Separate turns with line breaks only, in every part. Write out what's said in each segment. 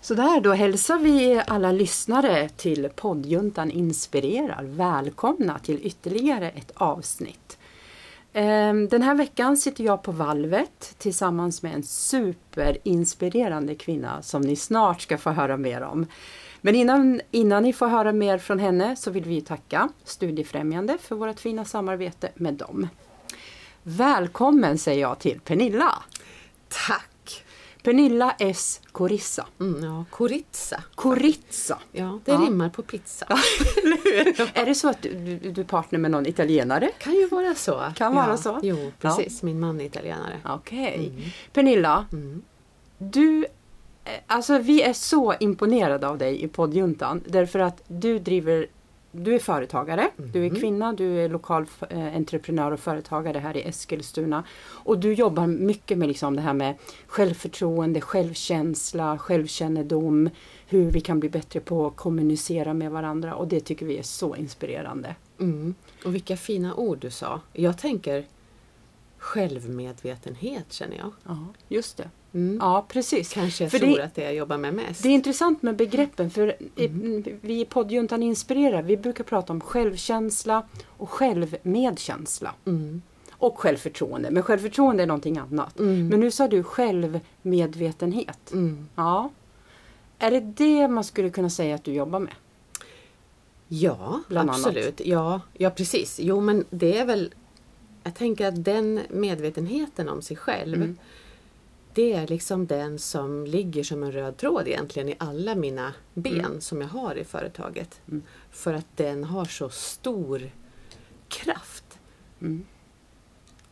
Så där, då hälsar vi alla lyssnare till poddjuntan inspirerar välkomna till ytterligare ett avsnitt. Ehm, Den här veckan sitter jag på valvet tillsammans med en superinspirerande kvinna som ni snart ska få höra mer om. Men innan, innan ni får höra mer från henne så vill vi tacka Studiefrämjande för vårt fina samarbete med dem. Välkommen säger jag till Pernilla!
Tack!
Pernilla S. Korissa.
Mm, ja, koritsa.
Koritsa.
Ja, det
Ja.
rimmar på pizza.
Är det så att du, du, du är partner med någon italienare?
Kan ju vara så.
Kan
ja.
vara så.
Jo, precis. Min man är italienare.
Okej. Pernilla, du, eh, alltså vi är så imponerade av dig i poddjuntan därför att du driver du är företagare, du är kvinna, du är lokal eh, entreprenör och företagare här i Eskilstuna. Och du jobbar mycket med liksom det här med självförtroende, självkänsla, självkännedom. Hur vi kan bli bättre på att kommunicera med varandra och det tycker vi är så inspirerande.
Mm. Och vilka fina ord du sa. Jag tänker självmedvetenhet känner jag.
Ja, just det.
Mm.
Ja, precis.
Kanske jag
För det-
tror att det jag jobbar med mest.
Det är intressant med begreppen för i- vi i poddjuntan inspirerar. Vi brukar prata om självkänsla och självmedkänsla.
Mm.
Och självförtroende. Men självförtroende är någonting annat. Men nu sa du självmedvetenhet.
Mm.
Ja. Är det det man skulle kunna säga att du jobbar med?
Ja,
Bland annat.
absolut. Ja, ja, precis. Jo, men det är väl... Jag tänker att den medvetenheten om sig själv
Mm.
Det är liksom den som ligger som en röd tråd egentligen i alla mina ben
Mm.
som jag har i företaget. För att den har så stor kraft.
Mm.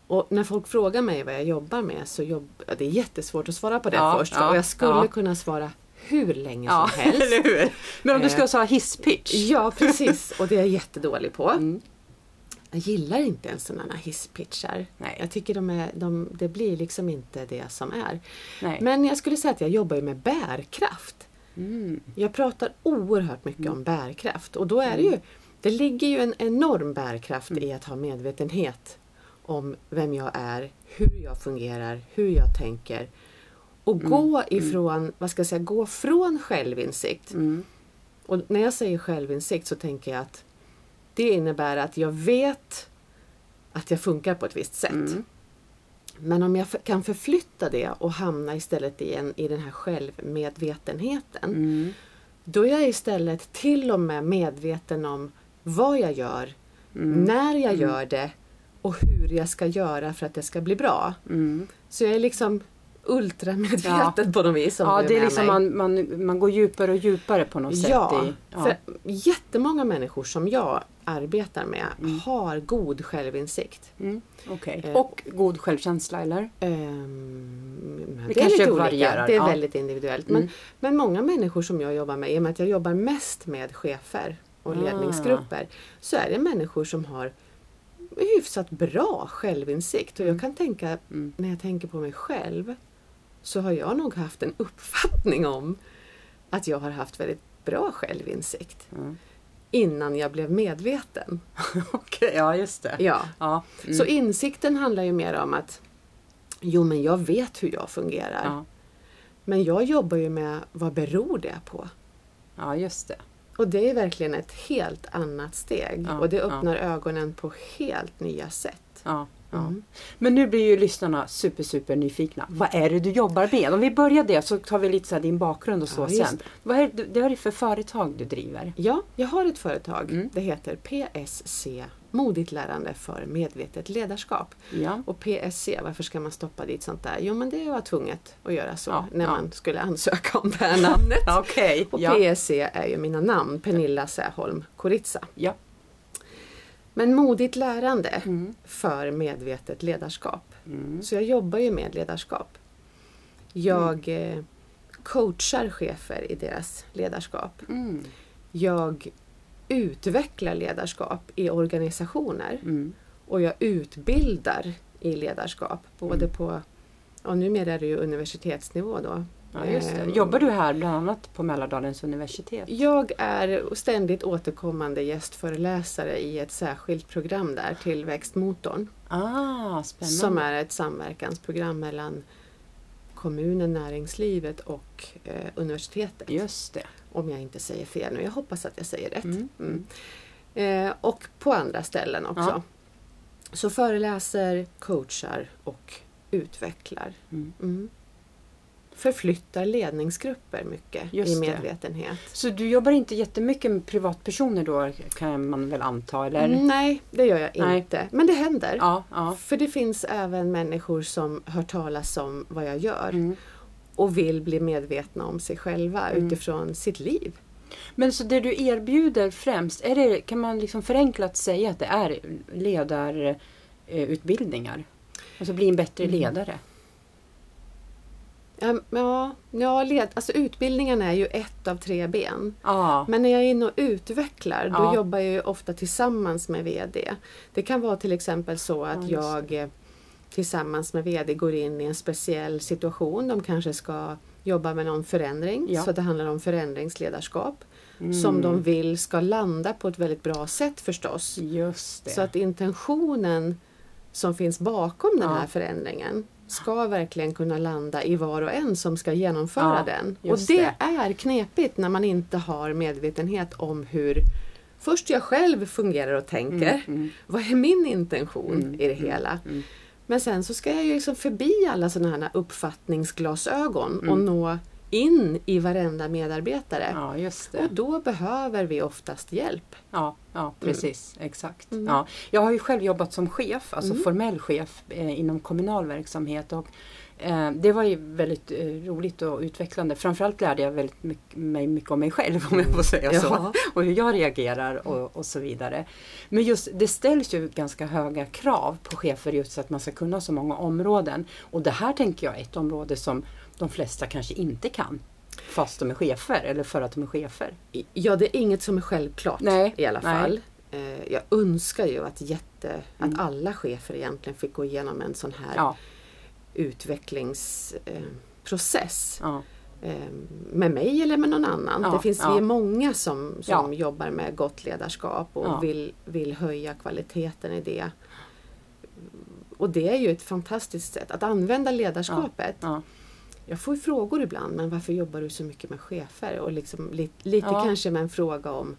Och när folk frågar mig vad jag jobbar med så jobb, ja, det är jättesvårt att svara på det
Ja,
först.
ja,
och jag skulle
ja.
kunna svara hur länge som helst.
eller hur? Men om du
Eh.
ska säga hisspitch? Mm.
Ja, precis. Och det är jag jättedålig på. Jag gillar inte ens sådana här hisspitchar.
Nej.
Jag tycker de är, de, det blir liksom inte det som är.
Nej.
Men jag skulle säga att jag jobbar ju med bärkraft.
Mm.
Jag pratar oerhört mycket om bärkraft och då är
Mm.
det ju, det ligger ju en enorm bärkraft i att ha medvetenhet om vem jag är, hur jag fungerar, hur jag tänker. Och
Mm.
gå ifrån, vad ska jag säga, gå från självinsikt och när jag säger självinsikt så tänker jag att det innebär att jag vet att jag funkar på ett visst sätt.
Mm.
Men om jag f- kan förflytta det och hamna istället i, en, i den här självmedvetenheten.
Mm.
Då är jag istället till och med medveten om vad jag gör,
Mm.
när jag gör det och hur jag ska göra för att det ska bli bra.
Mm.
Så jag är liksom ultramedveten på något vis. om
Ja,
du
det är
med
liksom
mig.
man, man, man går djupare och djupare på något sätt.
Ja,
i-
för jättemånga människor som jag arbetar med har god självinsikt.
Mm, okej.
Eh.
Och god självkänsla eller?
Ehm, men det, är
kanske
lite olika,
varierar,
det är
ja. Mm.
väldigt individuellt. Men, men många människor som jag jobbar med, i och med att jag jobbar mest med chefer och
Ah.
ledningsgrupper, så är det människor som har hyfsat bra självinsikt. Och
Mm.
jag kan tänka, när jag tänker på mig själv, så har jag nog haft en uppfattning om att jag har haft väldigt bra självinsikt.
Mm.
Innan jag blev medveten.
Okej, ja Mm. just det.
Ja.
Ja.
Så insikten handlar ju mer om att Jo men jag vet hur jag fungerar.
Ja.
Men jag jobbar ju med vad beror det på?
ja, just det.
Och det är verkligen ett helt annat steg.
Ja,
och det
ja.
öppnar ögonen på helt nya sätt. Mm.
Ja, ja. Men nu blir ju lyssnarna super, super nyfikna. Vad är det du jobbar med? Om vi börjar det så tar vi lite så här din bakgrund och så
Ja, just
sen.
det.
Vad är det, det är det för företag du driver?
Ja, jag har ett företag.
Mm.
Det heter PSC, Modigt lärande för medvetet ledarskap.
Ja.
Och PSC, varför ska man stoppa dit sånt där? Jo men det var tvunget att göra så
Ja,
när
ja.
man skulle ansöka om det här namnet.
Okej.
Och
Ja.
PSC är ju mina namn, Pernilla Säholm Koritsa.
ja.
Men modigt lärande för medvetet ledarskap. Så jag jobbar ju med ledarskap. Jag eh, coachar chefer i deras ledarskap.
Mm.
Jag utvecklar ledarskap i organisationer.
Mm.
Och jag utbildar i ledarskap. Både på, och numera är det ju universitetsnivå då.
Ja, just det.
Ehm,
Jobbar du här bland annat på Mälardalens universitet?
jag är ständigt återkommande gästföreläsare i ett särskilt program där, Tillväxtmotorn,
Ah, spännande.
som är ett samverkansprogram mellan kommunen, näringslivet och eh, universitetet.
Just det.
Om jag inte säger fel nu. Jag hoppas att jag säger rätt.
Mm.
Mm. Eh, och på andra ställen också.
Ja.
Så föreläser, coachar och utvecklar.
Mm.
Mm. Förflyttar ledningsgrupper mycket
Just
i
det.
medvetenhet.
Så du jobbar inte jättemycket med privatpersoner då kan man väl anta eller?
Mm, Nej, det gör jag
Nej.
inte. Men det händer.
Ja, ja.
För det finns även människor som hör talas om vad jag gör
Mm.
och vill bli medvetna om sig själva
Mm.
utifrån sitt liv.
Men så det du erbjuder främst, är det, kan man liksom förenklat säga att det är ledarutbildningar? Alltså bli en bättre
Mm.
ledare?
Ehm, Ja, ja led, alltså utbildningen är ju ett av tre ben.
Ja,
Men när jag är inne och utvecklar då
Ja.
jobbar jag ju ofta tillsammans med VD. Det kan vara till exempel så
Ja,
att
just
jag eh, tillsammans med VD går in i en speciell situation. De kanske ska jobba med någon förändring.
Ja.
Så det handlar om förändringsledarskap. Som
Mm.
de vill ska landa på ett väldigt bra sätt förstås.
just det.
Så att intentionen som finns bakom den
Ja.
här förändringen ska verkligen kunna landa i var och en som ska genomföra
Ja,
den. Och
just
det, är knepigt när man inte har medvetenhet om hur först jag själv fungerar och tänker.
mm.
Vad är min intention
Mm,
i det hela?
mm.
Men sen så ska jag ju liksom förbi alla sådana här uppfattningsglasögon och
Mm.
nå in i varenda medarbetare.
Ja, just det.
Och då behöver vi oftast hjälp.
Ja, ja precis. Exakt. Ja. Jag har ju själv jobbat som chef, alltså formell chef eh, inom kommunal verksamhet. Och, eh, det var ju väldigt eh, roligt och utvecklande. Framförallt lärde jag väldigt mycket, mig mycket om mig själv om jag får säga så.
Ja.
Och hur jag reagerar och, och så vidare. Men just det ställs ju ganska höga krav på chefer just så att man ska kunna så många områden. Och det här tänker jag är ett område som de flesta kanske inte kan. Fast de är chefer eller för att de är chefer.
Ja, det är inget som är självklart
Nej,
i alla
nej.
fall. Eh, Jag önskar ju att, jätte,
Mm.
att alla chefer egentligen fick gå igenom en sån här
Ja,
utvecklingsprocess.
ja.
eh, Med mig eller med någon annan.
Ja,
det finns
ja.
vi är många som, som
Ja.
jobbar med gott ledarskap och
Ja.
vill, vill höja kvaliteten i det. Och det är ju ett fantastiskt sätt att använda ledarskapet.
ja.
Jag får ju frågor ibland, men varför jobbar du så mycket med chefer? Och liksom, li, lite
Ja.
kanske med en fråga om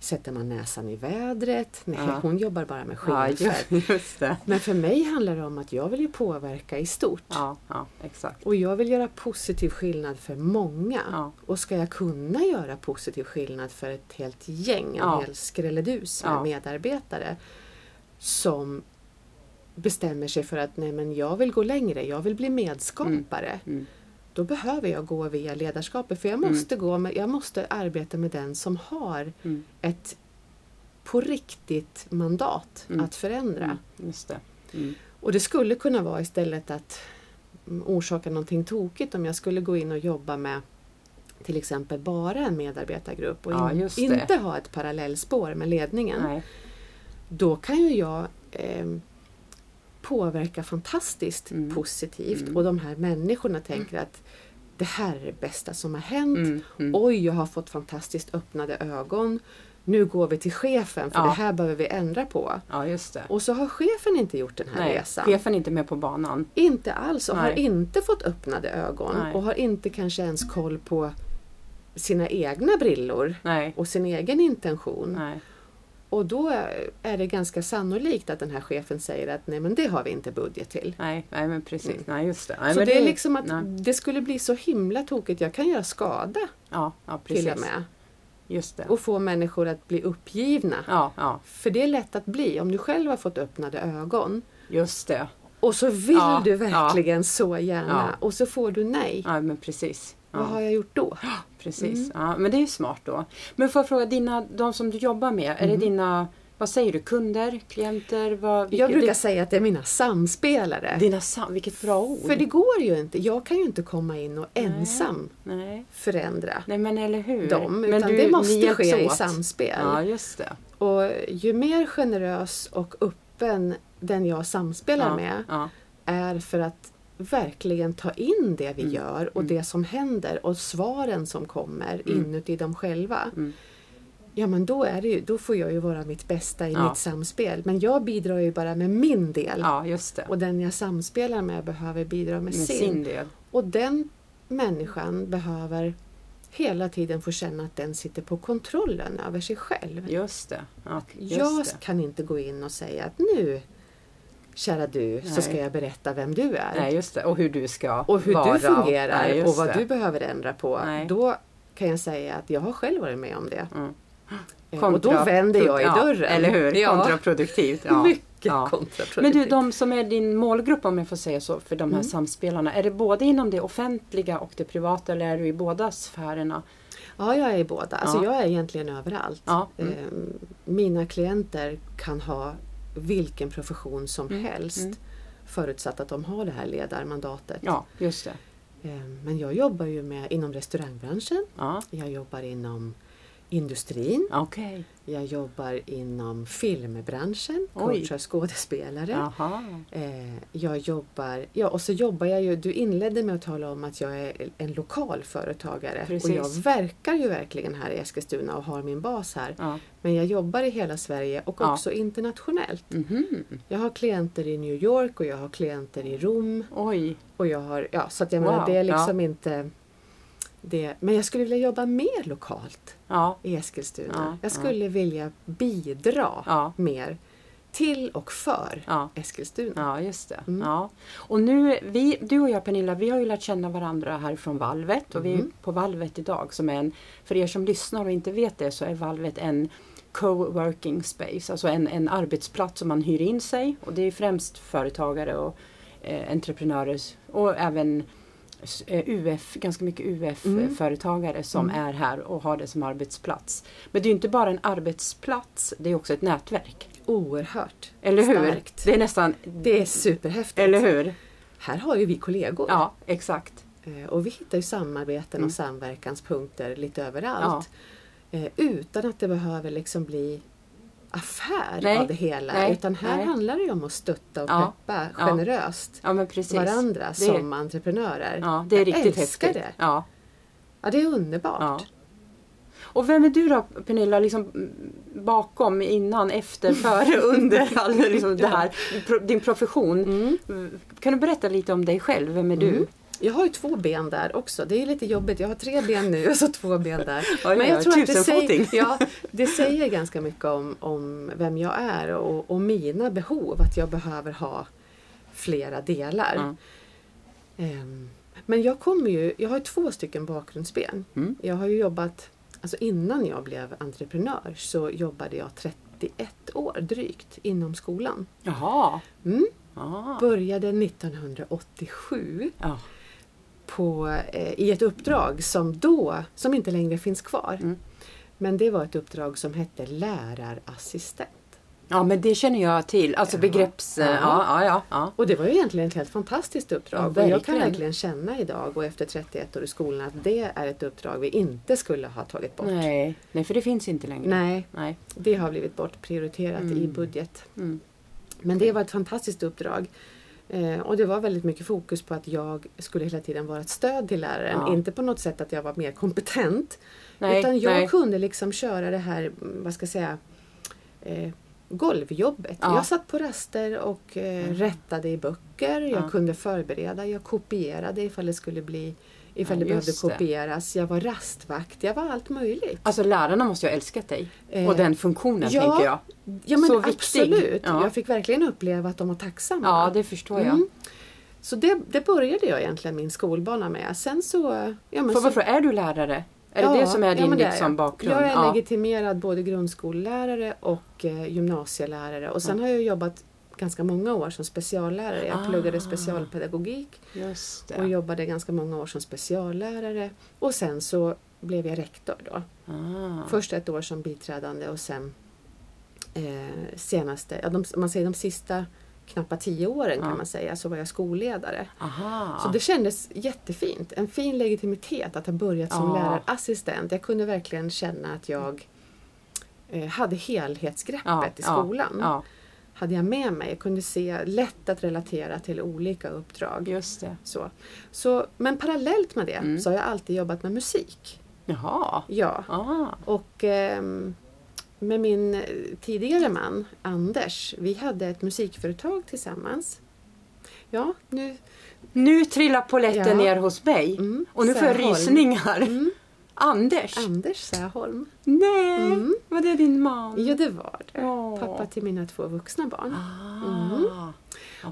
Sätter man näsan i vädret? Nej,
Ja.
hon jobbar bara med
Ja,
chefer.
ju- just det.
Men för mig handlar det om att jag vill ju påverka i stort.
Ja, ja exakt.
Och jag vill göra positiv skillnad för många.
Ja.
Och ska jag kunna göra positiv skillnad för ett helt gäng, en
Ja.
hel skrälledus med
Ja.
medarbetare som bestämmer sig för att nej men jag vill gå längre, jag vill bli medskapare.
Mm.
Då behöver jag gå via ledarskapet för jag
Mm.
måste, gå med, jag måste arbeta med den som har
Mm.
ett på riktigt mandat
Mm.
att förändra.
Mm, just det. Mm.
Och det skulle kunna vara istället att mm, orsaka någonting tokigt om jag skulle gå in och jobba med till exempel bara en medarbetargrupp och
Ja,
in,
just det.
inte ha ett parallellspår med ledningen.
Nej.
Då kan ju jag ehm, påverka fantastiskt
Mm.
positivt
Mm.
och de här människorna tänker att det här är det bästa som har hänt.
Mm, mm.
Oj, jag har fått fantastiskt öppnade ögon. Nu går vi till chefen för
Ja.
det här behöver vi ändra på.
Ja, just det.
Och så har chefen inte gjort den här
Nej,
resan.
chefen är inte med på banan.
Inte alls och har
Nej.
inte fått öppnade ögon
Nej.
och har inte kanske ens koll på sina egna brillor
Nej.
och sin egen intention.
Nej.
Och då är det ganska sannolikt att den här chefen säger att nej men det har vi inte budget till.
Nej, nej, men precis.
Mm.
Nej, just det. Nej,
Så
men
det är liksom att
Nej.
det skulle bli så himla tokigt, jag kan göra skada
Ja, ja
till och
precis.
med.
Just det.
Och få människor att bli uppgivna.
Ja, ja,
För det är lätt att bli om du själv har fått öppnade ögon
just det.
och så vill
Ja,
du
ja.
verkligen så gärna
Ja.
och så får du nej.
Ja, men precis.
Vad
Ja,
har jag Mm. gjort då?
precis. Ja, men det är ju smart då. Men får jag fråga, dina, de som du jobbar med,
Mm.
är det dina, vad säger du, kunder, klienter? Vad,
Jag
vilket-
brukar säga att det är mina samspelare.
Dina sam, vilket bra ord.
För det går ju inte. Jag kan ju inte komma in och ensam
Nej.
förändra
nej, men eller hur.
dem.
Mm. men
Utan
du,
det
ni
måste
hjälps
ske i
åt.
samspel.
Ja, just det.
Och ju mer generös och öppen den jag samspelar
Ja,
med
ja.
är för att verkligen ta in det
Mm.
vi gör och det som händer och svaren som kommer inuti dem själva.
Mm.
ja men då, är det ju, då får jag ju vara mitt bästa i
Ja.
mitt samspel. Men jag bidrar ju bara med min del.
Ja, just det.
Och den jag samspelar med behöver bidra med,
Med
sin.
sin del.
Och den människan behöver hela tiden få känna att den sitter på kontrollen över sig själv.
Just det. Ja, just
jag
det.
kan inte gå in och säga att nu, kära du, så
Nej.
ska jag berätta vem du är.
Nej, just det. Och hur du ska
Och hur
vara.
du fungerar
Nej, just
och vad
det.
du behöver ändra på.
Nej.
Då kan jag säga att jag har själv varit med om det.
Mm.
Eh, Och då vänder jag i
ja,
dörren.
Eller hur?
Ja.
Kontraproduktivt. Ja.
Mycket
ja. Men
kontraproduktivt.
du, de som är din målgrupp om jag får säga så, för de här
Mm.
samspelarna, är det både inom det offentliga och det privata eller är du i båda sfärerna?
Ja, jag är i båda. Alltså,
Ja.
Jag är egentligen överallt.
Ja. Mm.
Eh, Mina klienter kan ha vilken profession som
Mm,
helst
mm.
förutsatt att de har det här ledarmandatet.
Ja, just det.
Eh, Men jag jobbar ju med inom restaurangbranschen,
Ja.
jag jobbar inom industrin,
Okej.
jag jobbar inom filmbranschen,
Oj.
coachar skådespelare.
Jaha.
Eh, Jag jobbar, ja och så jobbar jag ju, du inledde med att tala om att jag är en lokal företagare
Precis.
och jag verkar ju verkligen här i Eskilstuna och har min bas här.
Ja.
Men jag jobbar i hela Sverige och
Ja.
också internationellt.
Mhm.
Jag har klienter i New York och jag har klienter i Rom.
Oj.
Och jag har, ja, så att jag
Wow,
menar, det är liksom inte det. Men jag skulle vilja jobba mer lokalt
Ja.
i Eskilstuna.
Ja, ja.
jag skulle vilja bidra
Ja.
mer till och för
Ja.
Eskilstuna.
Ja, just det.
Mm.
Ja. Och nu, vi, du och jag Pernilla, vi har ju lärt känna varandra här från Valvet och vi är
Mm.
på Valvet idag. Som är en, för er som lyssnar och inte vet det så är Valvet en co-working space, alltså en, en arbetsplats som man hyr in sig och det är främst företagare och eh, entreprenörer och även s- eh, UF, ganska mycket
Mm.
UF-företagare som
Mm.
är här och har det som arbetsplats. Men det är ju inte bara en arbetsplats, det är också ett nätverk.
Oerhört
Eller hur?
starkt.
Det är nästan...
Det är superhäftigt.
Eller hur?
Här har ju vi kollegor
Ja, exakt.
Eh, och vi hittar ju samarbeten
Mm.
och samverkanspunkter lite överallt. Eh, Utan att det behöver liksom bli affär
Nej,
av det hela.
nej,
Utan här
nej.
handlar det ju om att stötta och
Ja,
peppa
ja.
generöst
Ja, men precis.
varandra
Det-
som entreprenörer.
Ja, det är
Jag
riktigt
älskar
häftigt.
det.
Ja,
Ja, det är underbart.
ja. Och vem är du då Pernilla, liksom mm, bakom, innan, efter, före, under all, liksom det här, pro, din profession?
Mm.
Mm, Kan du berätta lite om dig själv? Vem är
Mm.
du?
Jag har ju två ben där också. Det är ju lite jobbigt. Jag har tre ben nu och så två ben där.
Oj,
Men jag
oj,
tror att det
tusenfoting.
säger, ja, det säger ganska mycket om, om vem jag är och, och mina behov. Att jag behöver ha flera delar.
Ja.
Ehm, Men jag kommer ju, jag har ju två stycken bakgrundsben.
Mm.
Jag har ju jobbat, alltså innan jag blev entreprenör så jobbade jag 31 år drygt inom skolan.
Jaha.
Mm.
Ja.
Började 1987
Ja.
på, eh, i ett uppdrag som då, som inte längre finns kvar.
Mm.
Men det var ett uppdrag som hette lärarassistent.
ja, men det känner jag till. Alltså
Ja.
begrepps... Ja,
Ja.
ja, ja. ja.
Och det var ju egentligen ett helt fantastiskt
Ja,
uppdrag. och jag kan
verkligen.
verkligen känna idag och efter 31 år i skolan att det är ett uppdrag vi inte skulle ha tagit bort.
Nej. Nej, för det finns inte längre.
Nej,
Nej.
det har blivit bortprioriterat i
Mm.
budget.
Mm.
Men det var ett fantastiskt uppdrag. Eh, och det var väldigt mycket fokus på att jag skulle hela tiden vara ett stöd till läraren.
Ja.
Inte på något sätt att jag var mer kompetent.
Nej,
utan jag
nej.
kunde liksom köra det här, mm, vad ska jag säga, eh, golvjobbet.
Ja.
Jag satt på raster och eh,
Mm.
rättade i böcker. Jag
Ja.
kunde förbereda, jag kopierade ifall det skulle bli ifall
Ja,
det behövde
just det.
kopieras. Jag var rastvakt, jag var allt möjligt.
Alltså lärarna måste ju ha älskat dig.
Eh,
Och den funktionen
ja.
tänker jag.
Eh, Ja men
Så viktig.
absolut!
Ja.
Jag fick verkligen uppleva att de var tacksamma.
Ja, det förstår jag.
Mm. Så det, det började jag egentligen min skolbana med. Sen så... Ja, men
Får jag bara
så
fråga, är du lärare? Är
ja,
det det som är
ja,
din
men det är
liksom,
jag.
bakgrund?
Jag är
Ja.
legitimerad både grundskollärare och eh, gymnasielärare och sen har jag jobbat ganska många år som speciallärare. Jag
Ah.
pluggade specialpedagogik
Just det.
och jobbade ganska många år som speciallärare och sen så blev jag rektor då.
ah.
Först ett år som biträdande och sen eh, senaste, ja, de, om man säger de sista knappa tio åren
Ja.
kan man säga, så var jag skolledare.
Aha.
Så det kändes jättefint. En fin legitimitet att ha börjat som
Ja.
lärarassistent. Jag kunde verkligen känna att jag eh, hade helhetsgreppet
Ja,
i
ja,
skolan.
Ja,
Hade jag med mig. Jag kunde se lätt att relatera till olika uppdrag.
just det.
Så. Så, men parallellt med det
Mm.
så har jag alltid jobbat med musik.
Jaha.
Ja.
Ah.
Och ehm, med min eh, tidigare man Anders, vi hade ett musikföretag tillsammans. Ja, nu...
Nu trillar poletten
Ja.
ner hos mig.
Mm,
Och nu får jag
Särholm.
rysningar.
Mm,
Anders!
Anders Säholm.
Nej!
Mm.
Var det din man?
Ja, det var det.
Ja.
Pappa till mina två vuxna barn.
Ah,
Mm.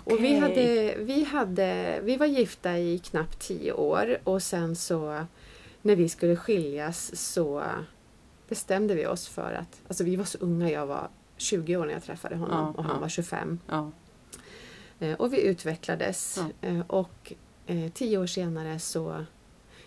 Och vi,
okej.
hade, vi, hade, vi var gifta i knappt tio år och sen så när vi skulle skiljas så bestämde vi oss för att, alltså vi var så unga, jag var 20 år när jag träffade honom
Ja,
och han
ja.
var 25.
Ja.
Eh, Och vi utvecklades
Ja.
eh, och eh, tio år senare så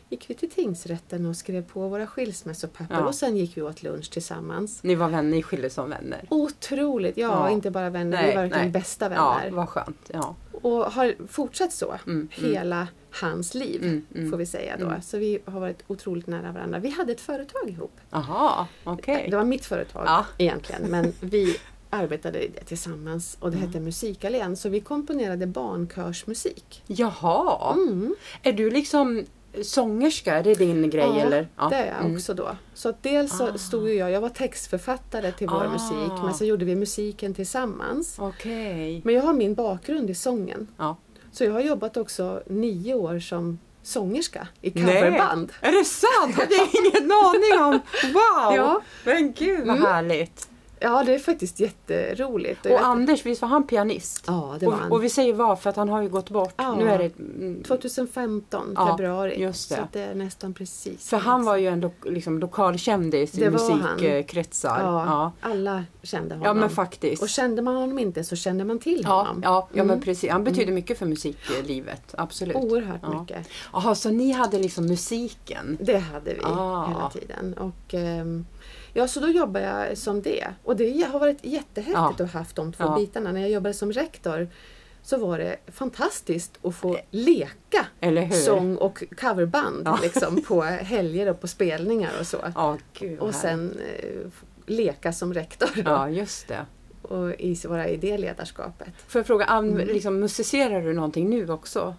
gick vi till tingsrätten och skrev på våra skilsmässopapper
Ja.
och sen gick vi åt lunch tillsammans.
Ni var vänner, ni skildes som vänner.
Otroligt! Ja,
Ja.
inte bara vänner,
Nej,
vi var verkligen
nej.
bästa
Ja,
vänner.
vad skönt. Ja.
Och har fortsatt så
Mm,
hela hans liv,
Mm, mm.
får vi säga då.
Mm.
Så vi har varit otroligt nära varandra. Vi hade ett företag ihop.
Aha, okej.
Det var mitt företag
Ja.
egentligen, men vi arbetade i det tillsammans och det
Mm.
hette Musikallén. Så vi komponerade barnkörsmusik.
Jaha.
Mm.
Är du liksom sångerska? Är det din grej?
Ja,
eller? Mm.
det är jag också då. Så att dels så stod ju jag, jag var textförfattare till vår
Ah.
musik, men så gjorde vi musiken tillsammans.
Okej.
Men jag har min bakgrund i sången.
Ja.
Så jag har jobbat också nio år som sångerska i
Nej.
coverband.
Är det sant? Det är ingen aning om. Wow!
Ja. Mm.
Men gud vad härligt.
Ja, det är faktiskt jätteroligt. Och jag
Och
vet-
Anders, visst var han pianist?
ja, det var
och,
han.
och vi säger var för att han har ju gått bort.
Ja.
Nu är det, mm,
2015,
Ja,
februari.
just det.
Så att det är nästan precis.
för han var ju en lo, liksom, lokal kändis i
Det var han.
musikkretsar.
Ja,
Ja.
alla kände
Ja.
honom.
men faktiskt.
Och kände man honom inte så kände man till
Ja,
honom.
ja, ja men
Mm. Oh,
precis. Han betyder mycket för musiklivet. Absolut.
Oerhört
Ja.
mycket.
Jaha, så ni hade liksom musiken?
Det hade vi
Ah.
hela tiden. Och, ehm, ja, så då jobbar jag som det. Och det har varit jättehäftigt
Ja.
att ha haft de två
Ja.
bitarna. När jag jobbade som rektor så var det fantastiskt att få leka
Eller Eh. hur?
sång och coverband
Ja.
liksom, på helger och på spelningar och så.
Ja, gud vad
Och sen eh, f- leka som rektor
härligt.
då,
Ja, just det.
och i s- vara i det ledarskapet.
Får jag fråga, an,
Mm.
liksom, musicerar du någonting nu också?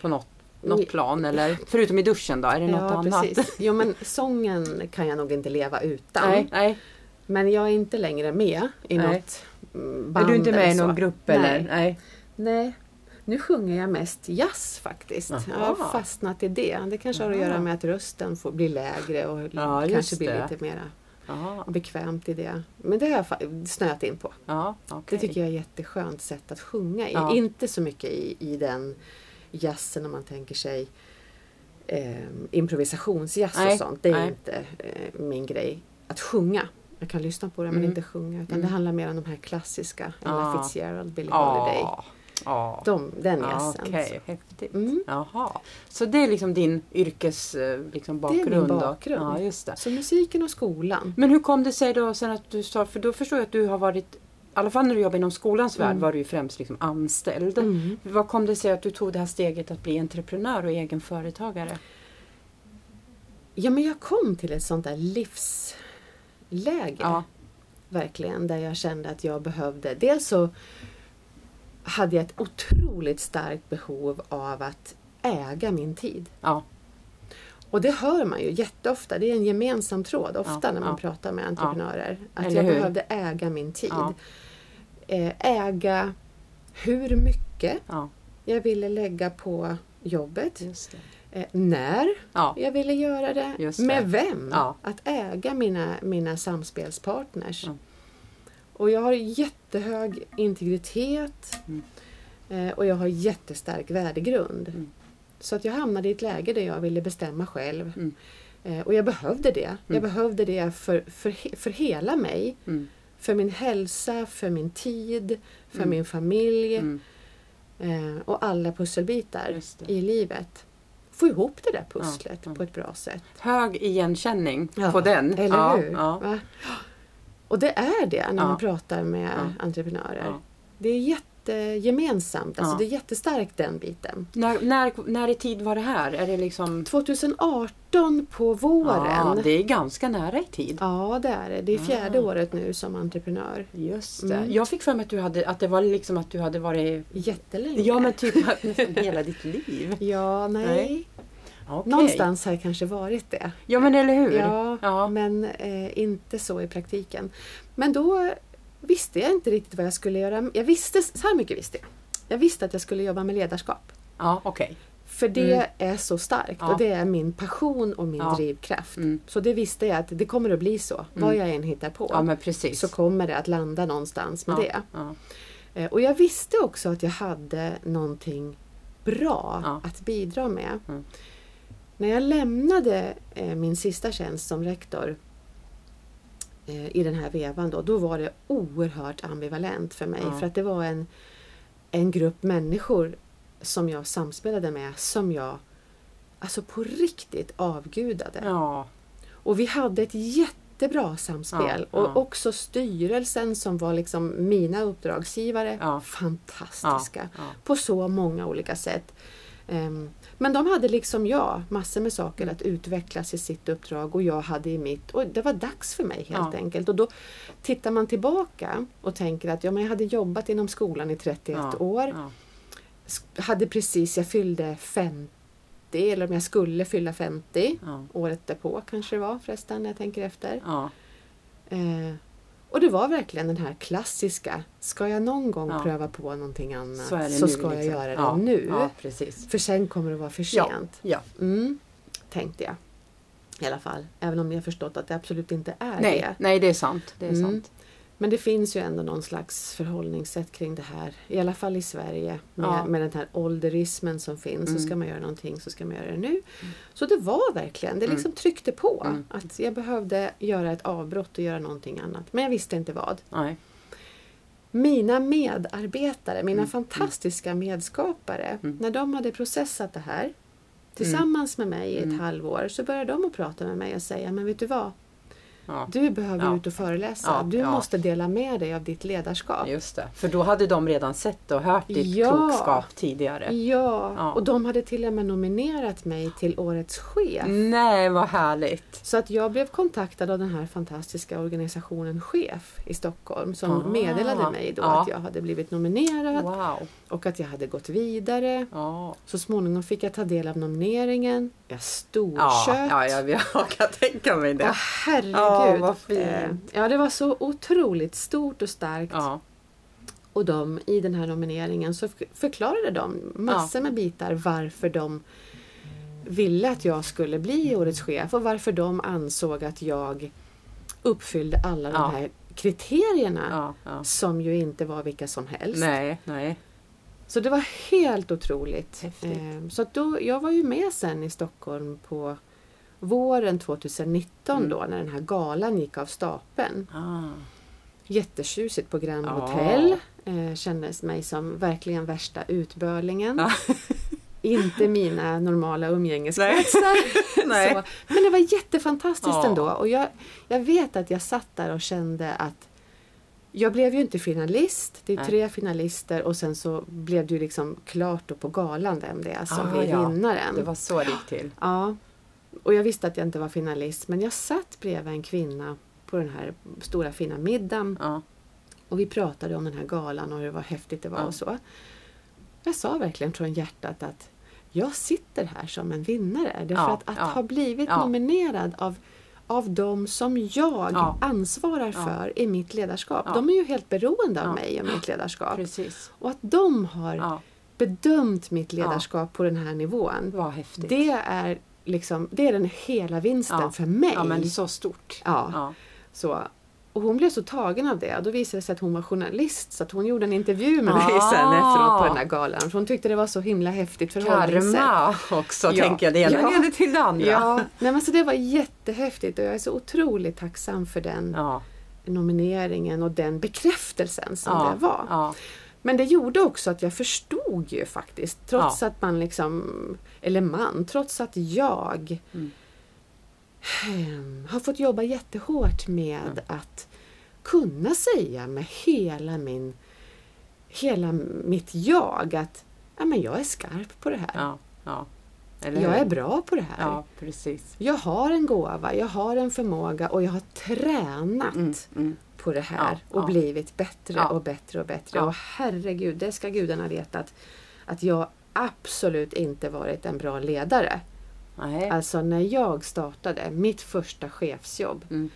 På något, något
Mm.
plan eller? Förutom i duschen då, är det något annat?
precis. Jo men sången kan jag nog inte leva utan.
Nej, nej.
Men jag är inte längre med i
Nej.
något mm,
Är
band
du inte med
eller
i någon
så.
grupp
Nej.
eller? Nej.
Nej. Nu sjunger jag mest jazz faktiskt. Jag
Jaha.
har fastnat i det. Det kanske har att göra
Jaha.
med att rösten får bli lägre och
Ja, just
kanske blir
det.
lite mer
Ja,
bekvämt i det. Men det har jag fa- snöat in på.
ja okej.
Det tycker jag är ett jätteskönt sätt att sjunga i.
Ja.
Inte så mycket i, i den jazzen om man tänker sig eh, improvisationsjazz
Nej,
och sånt. Det är
nej.
inte eh, min grej att sjunga. Jag kan lyssna på det men
Mm.
inte sjunga. Utan
Mm. Ah.
det handlar mer om de här klassiska. Ella
Ja.
Fitzgerald, Billie Holiday.
Ja. Ja.
De, den
Ja,
jazzen.
Ah. Okej, häftigt.
Mm.
Jaha. Så det är liksom din yrkes eh, liksom,
är min
bakgrund? då?
bakgrund.
Ja, just det.
Så musiken och skolan.
Men hur kom det sig då sen att du sa, för då förstår jag att du har varit, i alla fall när du jobbade inom skolans värld var du ju främst liksom anställd.
Mm.
Vad kom det sig att du tog det här steget att bli entreprenör och egen företagare?
Ja men jag kom till ett sånt där livsläge.
Ja.
verkligen där jag kände att jag behövde. Dels så hade jag ett otroligt starkt behov av att äga min tid.
Ja.
Och det hör man ju jätteofta, det är en gemensam tråd ofta
Ja,
när man
ja.
pratar med entreprenörer. Att
Eller
jag
hur?
behövde äga min tid.
Ja.
Eh, Äga hur mycket
Ja, Mm.
jag ville lägga på jobbet,
just det.
eh, när
Ja.
jag ville göra det,
Just det.
med vem?
Ja.
Att äga mina, mina samspelspartners.
Mm.
Och jag har jättehög integritet
Mm.
eh, och jag har jättestark värdegrund.
Mm.
Så att jag hamnade i ett läge där jag ville bestämma själv.
Mm.
Eh, och jag behövde det. Jag behövde det för, för, he- för hela mig.
Mm.
För min hälsa, för min tid, för
Mm.
min familj
Mm.
eh, och alla pusselbitar
Just det.
i livet. Få ihop det där pusslet
ja.
på ett bra sätt.
Hög igenkänning
Ja,
på den.
Eller
ja,
hur?
Ja.
Va? Och det är det när
Ja.
man pratar med
Ja.
entreprenörer.
Ja.
Det är jättegemensamt, alltså
Ja.
det är jättestarkt den biten.
När, när, när i tid var det här? Är det liksom...
2018 på våren.
Ja, det är ganska nära i tid.
Ja, det är det. Det är fjärde
Ah.
året nu som entreprenör.
Just det.
Mm.
Jag fick för mig att, du hade, att det var liksom att du hade varit...
Jättelänge.
Ja men typ nästan hela ditt liv.
Ja, nej.
Nej. Okej.
Någonstans har jag kanske varit det.
Ja men eller hur.
Ja,
Ja.
men eh, inte så i praktiken. Men då visste jag inte riktigt vad jag skulle göra. Jag visste, så här mycket visste jag. Jag visste att jag skulle jobba med ledarskap.
Ja, okej.
För det är så starkt
Mm. Ja.
och det är min passion och min
Ja.
drivkraft.
Mm.
Så det visste jag att det kommer att bli så. Vad jag än hittar på
Ja men precis.
så kommer det att landa någonstans med
ja.
det.
Ja.
Eh, Och jag visste också att jag hade någonting bra
Ja.
att bidra med.
Mm.
När jag lämnade eh, min sista tjänst som rektor eh, i den här vevan då, då var det oerhört ambivalent för mig.
Ja.
För att det var en, en grupp människor som jag samspelade med som jag alltså på riktigt avgudade.
ja.
Och vi hade ett jättebra samspel.
Ja,
och
ja.
också styrelsen som var liksom mina uppdragsgivare.
Ja.
Fantastiska.
Ja, ja.
På så många olika sätt. Ehm, men de hade liksom jag massor med saker att utvecklas i sitt uppdrag och jag hade i mitt. Och det var dags för mig helt
Ja.
enkelt. Och då tittar man tillbaka och tänker att ja, men jag hade jobbat inom skolan i 31
ja.
år
Ja.
sk- hade precis, jag fyllde 50 eller om jag skulle fylla 50.
Ja.
Året därpå kanske det var förresten när jag tänker efter.
Ja.
Eh, och det var verkligen den här klassiska, ska jag någon gång
Ja.
pröva på någonting annat
Så är det
så
nu,
ska jag
liksom.
göra det
ja.
nu.
Ja precis.
För sen kommer det vara för
Ja.
sent.
Ja.
Mm, tänkte jag. I alla fall, även om jag förstått att det absolut inte är
Nej,
det.
nej det är sant. Det är
Mm.
sant.
Men det finns ju ändå någon slags förhållningssätt kring det här. I alla fall i Sverige. Med,
Ja.
med den här ålderismen som finns. Så
Mm.
ska man göra någonting så ska man göra det nu. Så det var verkligen, det
Mm.
liksom tryckte på.
Mm.
Att jag behövde göra ett avbrott och göra någonting annat. Men jag visste inte vad.
Nej.
Mina medarbetare,
Mm.
mina fantastiska medskapare. När de hade processat det
Mm.
här tillsammans med mig i ett halvår så började de att prata med mig och säga, men vet du vad?
Ja.
Du behöver
Ja.
ut och föreläsa.
Ja,
Du
ja.
måste dela med dig av ditt ledarskap.
Just det. För då hade de redan sett och hört ditt
Ja.
klokskap tidigare.
Ja,
Ja.
och de hade till och med nominerat mig till Årets chef.
Mm. Nej, vad härligt!
Så att jag blev kontaktad av den här fantastiska organisationen Chef i Stockholm som
Ah.
meddelade mig då
Ja.
att jag hade blivit nominerad
Wow!
och att jag hade gått vidare.
Ja,
Så småningom fick jag ta del av nomineringen. Jag
ja,
storköt.
ja jag, jag kan tänka mig
Åh,
det.
herregud!
Ja, vad fint.
Eh, Ja, det var så otroligt stort och starkt.
Ja,
Och de, i den här nomineringen så f- förklarade de massor med bitar varför de ville att jag skulle bli årets chef och varför de ansåg att jag uppfyllde alla
Ja.
de här kriterierna
ja, ja.
som ju inte var vilka som helst.
Nej, nej.
Så det var helt otroligt.
Häftigt.
Eh, Så att då, jag var ju med sen i Stockholm på våren 2019
Mm.
då när den här galan gick av stapeln.
Ah.
Jättetjusigt på Grand
Ja.
Hotel. Eh, kändes mig som verkligen värsta utbörlingen. Inte mina normala umgängeskretsar.
Nej.
Så, men det var jättefantastiskt
Ja.
ändå. Och jag, jag vet att jag satt där och kände att jag blev ju inte finalist. Det är
Nej.
tre finalister och sen så blev det ju liksom klart då på galan vem det är som
Ah,
blir
ja.
vinnaren.
Det var så det gick till.
Ja. Och jag visste att jag inte var finalist men jag satt bredvid en kvinna på den här stora fina middagen
Ja,
och vi pratade om den här galan och hur var häftigt det var
Ja.
och så. Jag sa verkligen från hjärtat att jag sitter här som en vinnare. Därför
Ja,
att, att
ja.
ha blivit
Ja.
nominerad av, av de som jag
Ja.
ansvarar
Ja.
för i mitt ledarskap.
Ja.
De är ju helt beroende av
Ja.
mig och mitt ledarskap.
precis.
Och att de har
Ja,
bedömt mitt ledarskap på den här nivån.
vad häftigt.
Det är, liksom, det är den hela vinsten
Ja.
för mig.
Ja, men så stort.
Ja.
Ja,
Så. Och hon blev så tagen av det. Då visade det sig att hon var journalist så att hon gjorde en intervju med mig
Ah.
sen efteråt på den här galan. För hon tyckte det var så himla häftigt förhållningssätt.
Karma också,
Ja.
tänker jag. Det ena
Ja.
leder till det andra.
Ja, nej men så det var jättehäftigt och jag är så otroligt tacksam för den
ja.
nomineringen och den bekräftelsen som
ja.
det var.
Ja.
Men det gjorde också att jag förstod ju faktiskt, trots
Ja.
att man liksom, eller man, trots att jag
Mm.
ehm, har fått jobba jättehårt med att kunna säga med hela min, hela mitt jag att ja, men jag är skarp på det här.
ja, ja. Eller
Jag
hur?
är bra på det här.
Ja, precis.
Jag har en gåva, jag har en förmåga och jag har tränat
mm.
på det här
Ja,
och
ja.
blivit bättre
Ja.
och bättre och bättre.
Ja.
Och herregud, det ska gudarna veta att, att jag absolut inte varit en bra ledare
Nej.
Alltså när jag startade mitt första chefsjobb.
Mm.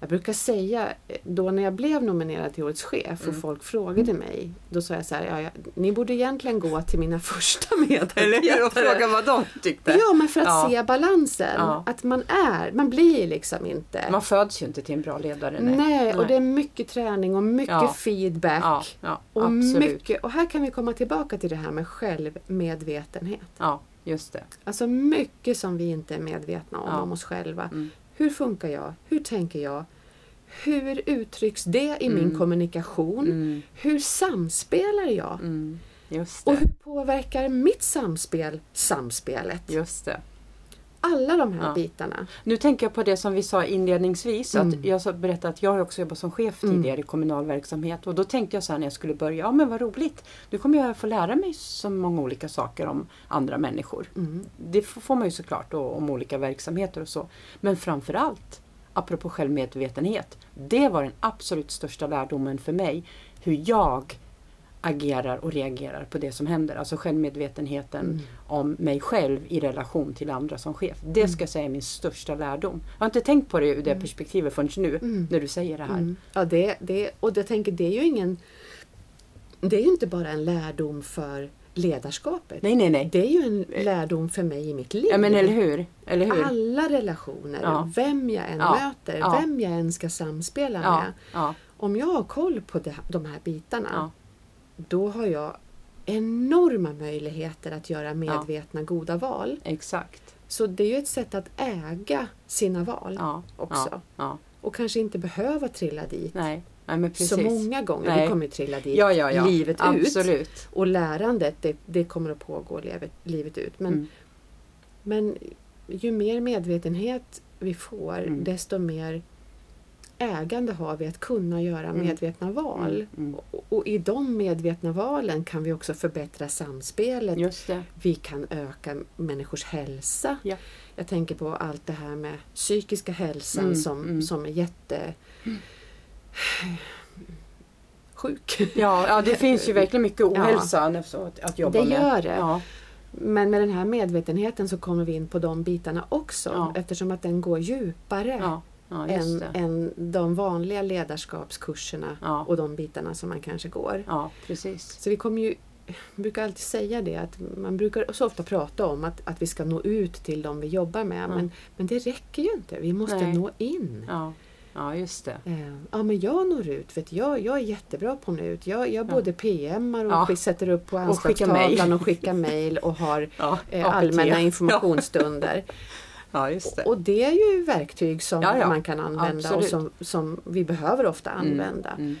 Jag brukar säga eh, då när jag blev nominerad till Årets chef och
Mm.
folk frågade mig. Då sa jag så här, ja, jag, ni borde egentligen gå till mina första
Eller hur? Och
medarbetare.
fråga vad de tyckte.
Ja men för att
Ja.
se balansen.
Ja.
Att man är, man blir liksom inte.
Man föds ju inte till en bra ledare.
nej.
Nej,
och det är mycket träning och mycket
Ja.
feedback.
ja, ja,
Och,
absolut.
mycket, och här kan vi komma tillbaka till det här med självmedvetenhet.
Ja, just det.
Alltså mycket som vi inte är medvetna om,
Ja.
om oss själva.
Mm.
Hur funkar jag? Hur tänker jag? Hur uttrycks det i min
Mm.
kommunikation?
Mm,
Hur samspelar jag?
mm, just
Och
det.
hur påverkar mitt samspel samspelet?
Just det.
Alla de här
Ja.
bitarna.
Nu tänker jag på det som vi sa inledningsvis.
Mm.
Att jag så- berättade att jag har också jobbat som chef
Mm.
tidigare i kommunal verksamhet. Och då tänkte jag så här när jag skulle börja, ja men vad roligt. Nu kommer jag få lära mig så många olika saker om andra människor.
Mm.
Det f- får man ju såklart och, om olika verksamheter och så. Men framförallt, apropå självmedvetenhet. Det var den absolut största lärdomen för mig. Hur jag agerar och reagerar på det som händer. Alltså självmedvetenheten
Mm.
om mig själv i relation till andra som chef. Det
Mm.
ska jag säga är min största lärdom. Jag har inte tänkt på det ur det perspektivet förrän nu
Mm.
när du säger det här.
Mm. Ja, det, det, och jag tänker, det är ju ingen... Det är ju inte bara en lärdom för ledarskapet.
Nej, nej, nej.
Det är ju en lärdom för mig i mitt liv.
Ja, men eller hur? Eller hur?
Alla relationer,
Ja.
vem jag än
Ja.
möter,
Ja.
vem jag än ska samspela
ja,
med.
ja,
Om jag har koll på de- de här bitarna,
ja,
då har jag enorma möjligheter att göra medvetna goda val.
exakt.
Så det är ju ett sätt att äga sina val
Ja,
också.
ja, ja.
Och kanske inte behöva trilla dit
Nej, nej men precis.
så många gånger.
Nej.
Vi kommer ju trilla dit
ja, ja, ja.
livet ut.
Absolut.
Och lärandet, det, det kommer att pågå livet, livet ut. Men,
Mm.
men ju mer medvetenhet vi får,
Mm.
desto mer ägande har vi att kunna göra
Mm.
medvetna val.
Mm, mm.
Och, och i de medvetna valen kan vi också förbättra samspelet.
Just det.
Vi kan öka människors hälsa.
Ja.
Jag tänker på allt det här med psykiska hälsan
Mm,
som,
mm.
som är jätte... sjuk.
Ja, ja, det finns ju verkligen mycket ohälsa att, att jobba
Det
med.
gör det.
Ja,
Men med den här medvetenheten så kommer vi in på de bitarna också
Ja.
eftersom att den går djupare
ja, ja just
än,
det.
än de vanliga ledarskapskurserna
Ja.
och de bitarna som man kanske går.
Ja, precis.
Så vi kommer ju, jag brukar alltid säga det att man brukar så ofta prata om att, att vi ska nå ut till de vi jobbar med
Ja.
men, men det räcker ju inte, vi måste
Nej.
nå in.
Ja, ja just det.
Eh, Ja men jag når ut, vet jag, jag är jättebra på att nå ut. Jag, jag
Ja.
både PMar och
Ja.
skick- sätter upp på
Och skickar mejl.
anslagstavlan och skickar mejl och har
Ja,
eh,
APT.
allmänna informationsstunder.
Ja, just det.
Och det är ju verktyg som
Ja, ja.
man kan använda och som,
Absolut.
som vi behöver ofta använda.
Mm.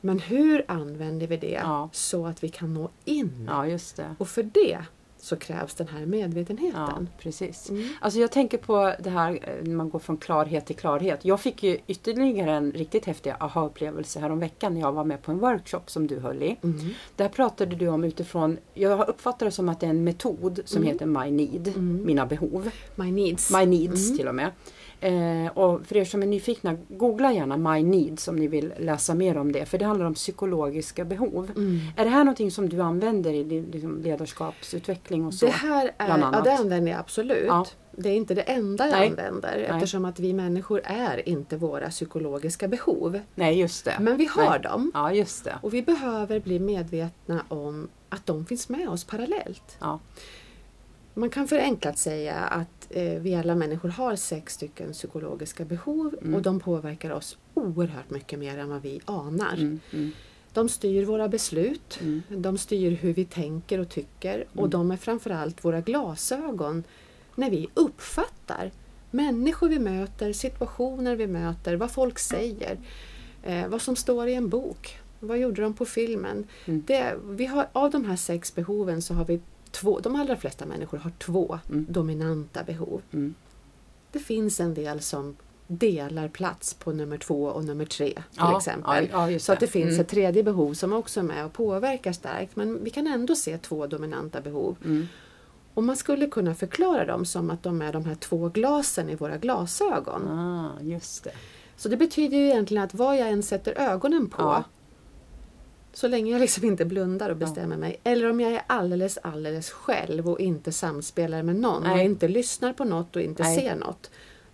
Men hur använder vi det
Ja.
så att vi kan nå in?
Ja, just det.
Och för det så krävs den här
Ja,
medvetenheten.
precis.
Mm.
Alltså jag tänker på det här eh, när man går från klarhet till klarhet. Jag fick ju ytterligare en riktigt häftig aha-upplevelse häromveckan när jag var med på en workshop som du höll i.
Mm.
Där pratade du om utifrån, jag uppfattar det som att det är en metod som
Mm.
heter My Need, mina behov.
My needs.
My Needs
Mm.
till och med. Eh, och för er som är nyfikna, googla gärna My Needs om ni vill läsa mer om det. För det handlar om psykologiska behov.
Mm.
Är det här någonting som du använder i din liksom, ledarskapsutveckling och så?
det här är,
bland
ja,
annat.
det använder jag absolut.
Ja.
Det är inte det enda jag
Nej.
använder eftersom att vi människor är inte våra psykologiska behov.
Nej, just det.
Men vi har
Nej.
dem
Ja, just det.
och vi behöver bli medvetna om att de finns med oss parallellt.
Ja,
Man kan förenklat säga att eh, vi alla människor har sex stycken psykologiska behov
Mm.
och de påverkar oss oerhört mycket mer än vad vi anar.
mm, mm,
De styr våra beslut,
Mm.
de styr hur vi tänker och tycker och de är framförallt våra glasögon när vi uppfattar människor vi möter, situationer vi möter, vad folk säger, eh, vad som står i en bok, vad gjorde de på filmen.
Mm.
Det, vi har, av de här sex behoven så har vi två, de allra flesta människor har två
Mm.
dominanta behov.
mm.
Det finns en del som delar plats på nummer två och nummer tre till
Ja,
exempel.
ja, ja, just
så att det
det.
finns
Mm.
ett tredje behov som också är med och påverkar starkt men vi kan ändå se två dominanta behov.
Mm.
Och man skulle kunna förklara dem som att de är de här två glasen i våra glasögon.
Ah, just det.
Så det betyder ju egentligen att vad jag än sätter ögonen på
Ja.
Så länge jag liksom inte blundar och bestämmer mig. Eller om jag är alldeles, alldeles själv och inte samspelar med någon och
Nej.
inte lyssnar på något och inte
Nej.
ser något.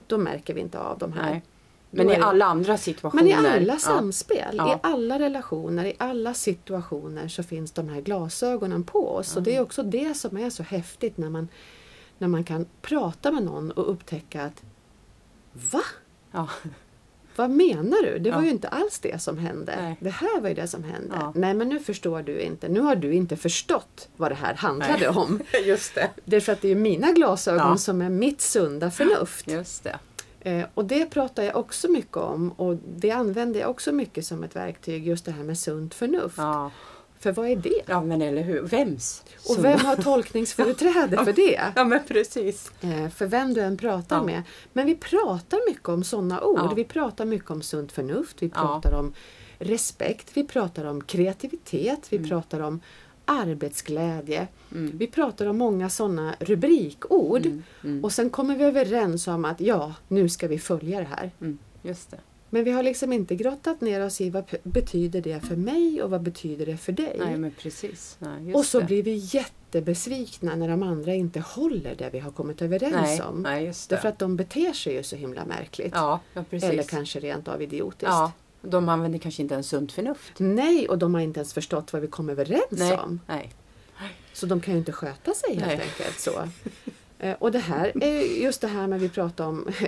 Då märker vi inte av de här.
Nej. Men
Då
i
är det-
alla andra situationer.
Men i alla
Ja.
samspel, i
Ja.
alla relationer, i alla situationer så finns de här glasögonen på oss. Och det är också det som är så häftigt när man, när man kan prata med någon och upptäcka att Va?
Ja.
Vad menar du? Det var
Ja.
ju inte alls det som hände.
Nej.
Det här var ju det som hände.
Ja.
Nej men nu förstår du inte. Nu har du inte förstått vad det här handlade
Nej.
om.
Just det.
Därför att det är ju mina glasögon
Ja.
som är mitt sunda förnuft.
Just det.
Eh, och det pratar jag också mycket om och det använder jag också mycket som ett verktyg, just det här med sunt förnuft.
Ja.
För vad är det?
ja, men eller hur. Vems?
Och vem har tolkningsföreträde för det?
Ja, men precis.
Eh, För vem du än pratar
Ja.
med. Men vi pratar mycket om sådana ord.
Ja.
Vi pratar mycket om sunt förnuft. Vi
Ja.
pratar om respekt. Vi pratar om kreativitet.
Mm.
Vi pratar om arbetsglädje. Vi pratar om många sådana rubrikord.
Mm.
Och sen kommer vi överens om att ja, nu ska vi följa det här.
Mm. Just det.
Men vi har liksom inte grottat ner oss i vad p- betyder det för mig och vad betyder det för dig?
Nej, men precis. Nej, just
och så
det.
blir vi jättebesvikna när de andra inte håller det vi har kommit överens
Nej,
om.
nej, just det.
Därför att de beter sig ju så himla märkligt.
Ja, ja precis.
Eller kanske rent av idiotiskt.
ja, de använder kanske inte ens sunt förnuft.
Nej, och de har inte ens förstått vad vi kom överens
Nej,
om.
nej.
Så de kan ju inte sköta sig helt
Nej.
enkelt. Så. Eh, Och det här är ju just det här med vi pratar om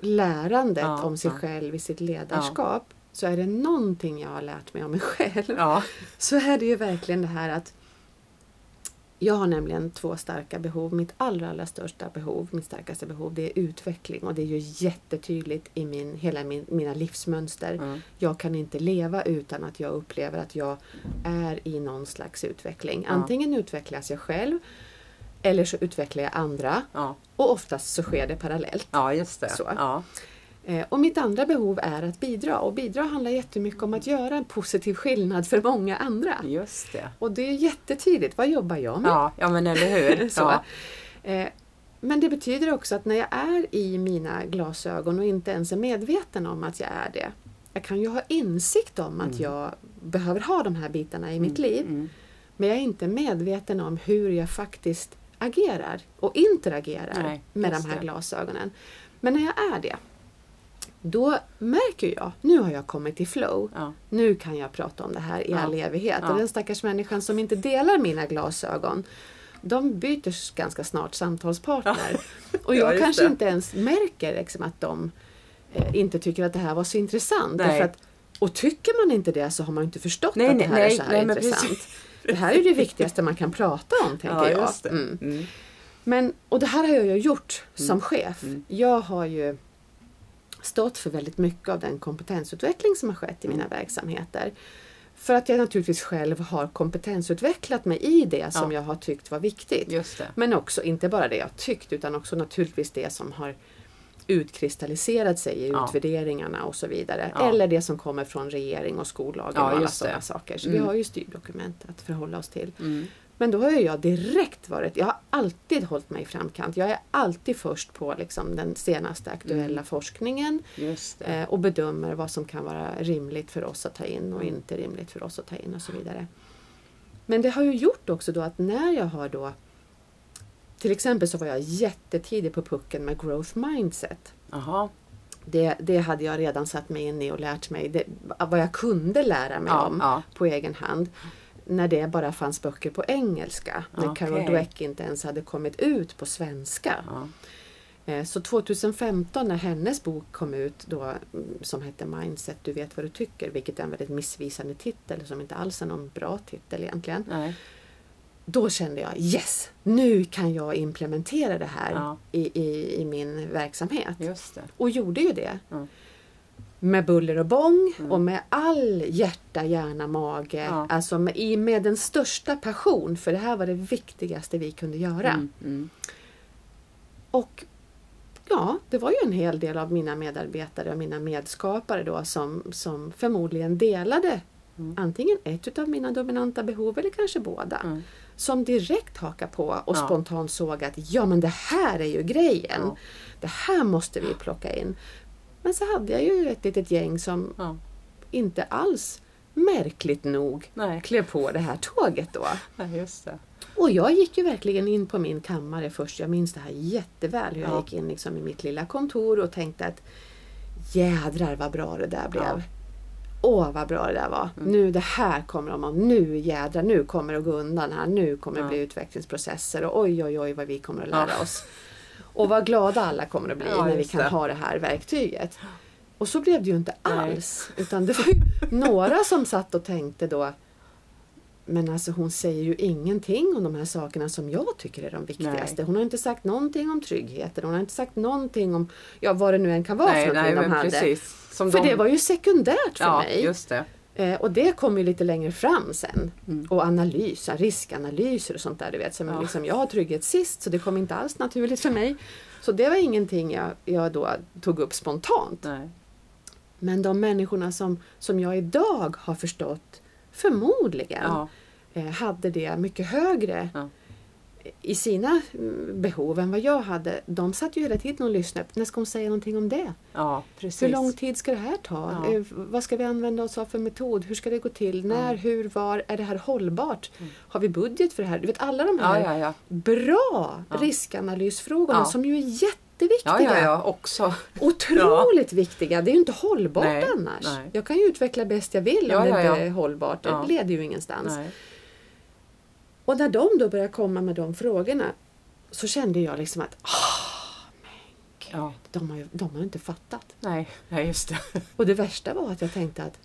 lärandet
Ja,
om sig
ja.
själv i sitt ledarskap. Så är det någonting jag har lärt mig om mig själv
Ja,
så är det ju verkligen det här att jag har nämligen två starka behov. Mitt allra, allra största behov, mitt starkaste behov, det är utveckling och det är ju jättetydligt i min, hela min, mina livsmönster.
Mm.
Jag kan inte leva utan att jag upplever att jag är i någon slags utveckling. Antingen utvecklas jag själv eller så utvecklar jag andra
ja,
och oftast så sker det parallellt.
ja just det.
Så.
Ja.
Eh, Och mitt andra behov är att bidra och bidra handlar jättemycket om att göra en positiv skillnad för många andra.
Just det.
Och det är jättetydligt, vad jobbar jag med?
Ja, ja men eller hur.
Mm. Så.
Ja.
Eh, Men det betyder också att när jag är i mina glasögon och inte ens är medveten om att jag är det. Jag kan ju ha insikt om
Mm.
att jag behöver ha de här bitarna i mitt liv. Men jag är inte medveten om hur jag faktiskt agerar och interagerar
Nej,
med
just
de här
det.
glasögonen. Men när jag är det, då märker jag, nu har jag kommit i flow.
Ja.
Nu kan jag prata om det här i
Ja.
all evighet.
Ja.
Och den stackars människan som inte delar mina glasögon, de byter s- ganska snart samtalspartner. Och
Ja,
jag
just
kanske
det.
inte ens märker liksom att de eh, inte tycker att det här var så intressant.
Nej.
Därför att, och tycker man inte det så har man ju inte förstått
Nej,
att
nej,
det här är
nej,
så här
nej, men
intressant.
precis.
Det här är det viktigaste man kan prata om, tänker
Ja,
jag.
just det.
Mm.
Mm.
Men, och det här har jag ju gjort som chef.
Mm.
Jag har ju stått för väldigt mycket av den kompetensutveckling som har skett i
Mm.
mina verksamheter. För att jag naturligtvis själv har kompetensutvecklat mig i det som
Ja.
jag har tyckt var viktigt.
Just det.
Men också inte bara det jag tyckt utan också naturligtvis det som har utkristalliserat sig i
Ja.
utvärderingarna och så vidare.
Ja.
Eller det som kommer från regering och skollagen
Ja,
och alla
just det.
sådana saker. Så
Mm.
vi har ju styrdokument att förhålla oss till.
Mm.
Men då har ju jag direkt varit, jag har alltid hållit mig i framkant. Jag är alltid först på liksom den senaste aktuella forskningen
Just det.
eh, och bedömer vad som kan vara rimligt för oss att ta in och inte rimligt för oss att ta in och så vidare. Men det har ju gjort också då att när jag har då till exempel så var jag jättetidig på pucken med growth mindset.
Jaha.
Det, det hade jag redan satt mig in i och lärt mig det, vad jag kunde lära mig
Ja,
om
ja.
på egen hand. När det bara fanns böcker på engelska. När Carol
Okej.
Dweck inte ens hade kommit ut på svenska.
Ja.
Eh, Så 2015 när hennes bok kom ut då, mm, som hette Mindset, du vet vad du tycker, vilket är en väldigt missvisande titel som inte alls är någon bra titel egentligen.
Nej.
Då kände jag yes, nu kan jag implementera det här
Ja.
i, i, i min verksamhet.
Just det.
Och gjorde ju det.
Mm.
Med buller och bång och med all hjärta, hjärna, mage.
Ja.
Alltså med, i- med den största passion för det här var det viktigaste vi kunde göra.
Mm. Mm.
Och ja, det var ju en hel del av mina medarbetare och mina medskapare då som, som förmodligen delade antingen ett utav mina dominanta behov eller kanske båda.
Mm.
Som direkt hakade på och
Ja.
spontant såg att ja men det här är ju grejen.
Ja.
Det här måste vi plocka in. Men så hade jag ju ett litet gäng som
Ja.
inte alls märkligt nog
Nej.
klev på det här tåget då.
Nej, just det.
Och jag gick ju verkligen in på min kammare först. Jag minns det här jätteväl. hur Jag
Ja.
gick in liksom i mitt lilla kontor och tänkte att jädrar vad bra det där blev.
Ja. Mm.
Åh vad bra det där var. Nu det här kommer de att, nu jädrar, nu kommer det att gå undan här. Nu kommer det
Ja.
bli utvecklingsprocesser och oj oj oj vad vi kommer att
Ja.
lära oss. Och vad glada alla kommer att bli
Ja,
när vi
just
kan
det.
ha det här verktyget. Och så blev det ju inte
Nej.
alls. Utan det var ju några som satt och tänkte då men alltså hon säger ju ingenting om de här sakerna som jag tycker är de viktigaste.
Nej.
Hon har inte sagt någonting om tryggheten, hon har inte sagt någonting om ja, vad det nu än kan vara
nej,
för
nej,
någonting de
men
hade.
precis. Som
För
de-
det var ju sekundärt för
ja,
mig.
just det.
Eh, och det kom ju lite längre fram sen. Och analyser, riskanalyser och sånt där. Du vet, som
Ja.
liksom, jag har trygghet sist så det kom inte alls naturligt för mig. Så det var ingenting jag, jag då tog upp spontant.
Nej.
Men de människorna som, som jag idag har förstått förmodligen
Ja,
eh, hade det mycket högre
Ja.
i sina mm, behov än vad jag hade. De satt ju hela tiden och lyssnade. När ska hon säga någonting om det?
ja, precis.
Hur lång tid ska det här ta?
Ja.
Eh, Vad ska vi använda oss av för metod? Hur ska det gå till? När, hur, var? Är det här hållbart? Har vi budget för det här? Du vet alla de
Mm. Ja, ja,
här
ja.
bra riskanalysfrågorna
Ja.
som ju är jätteviktiga.
Ja, ja, ja, också.
Otroligt viktiga! Det är ju inte hållbart
Nej,
annars.
nej.
Jag kan ju utveckla bäst jag vill
Ja,
om det
ja,
inte
ja.
är hållbart. Det
Ja.
leder ju ingenstans.
Nej.
Och när de då började komma med de frågorna så kände jag liksom att "Ah,
Ja.
de har ju de har ju inte fattat.
Nej, nej, just det.
Och det värsta var att jag tänkte att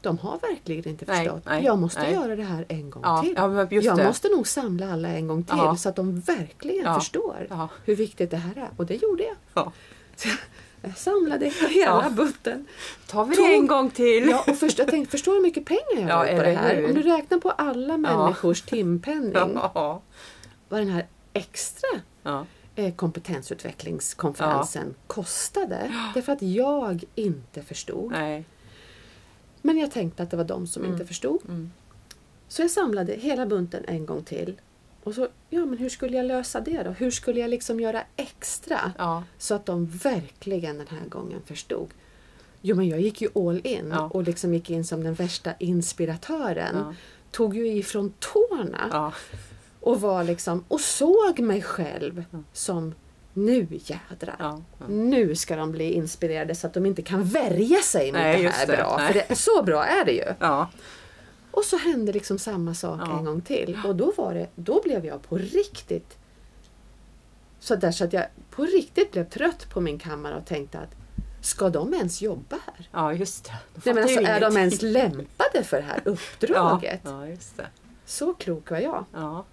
de har verkligen inte
Nej,
förstått.
nej,
jag måste
nej.
göra det här en gång
Ja,
till.
ja, men just
jag
det.
måste nog samla alla en gång till
Ja.
så att de verkligen
Ja.
förstår
Ja.
hur viktigt det här är. Och det gjorde jag.
Ja.
Så jag- jag samlade hela
Ja.
butten.
Tar vi det en gång till?
Ja, och först, jag tänkte, förstår hur mycket pengar jag
Ja,
har lagt på det
eller
här?
hur?
Om du räknar på alla människors timpenning,
ja.
vad den här extra
ja.
eh, kompetensutvecklingskonferensen kostade. Därför att jag inte förstod.
Nej.
Men jag tänkte att det var de som
Mm.
inte förstod. Så jag samlade hela bunten en gång till. Och så, ja men hur skulle jag lösa det då? Hur skulle jag liksom göra extra?
Ja.
Så att de verkligen den här gången förstod. Jo men jag gick ju all in
Ja.
och liksom gick in som den värsta inspiratören.
Ja.
Tog ju ifrån tårna.
Ja.
Och var liksom, och såg mig själv som nu jädrar.
Ja, ja.
Nu ska de bli inspirerade så att de inte kan värja sig mot
Nej,
det
just
här
det.
bra.
Nej.
För det, så bra är det ju.
Ja.
Och så hände liksom samma sak
Ja.
en gång till. Och då, var det, då blev jag på riktigt så där så att jag på riktigt blev trött på min kammare och tänkte att ska de ens jobba här?
ja, just det. Då
Nej,
fattar
men alltså,
ju
är de
ingenting.
ens lämpade för det här
ja.
uppdraget?
ja, just det.
Så klok var jag.
Ja.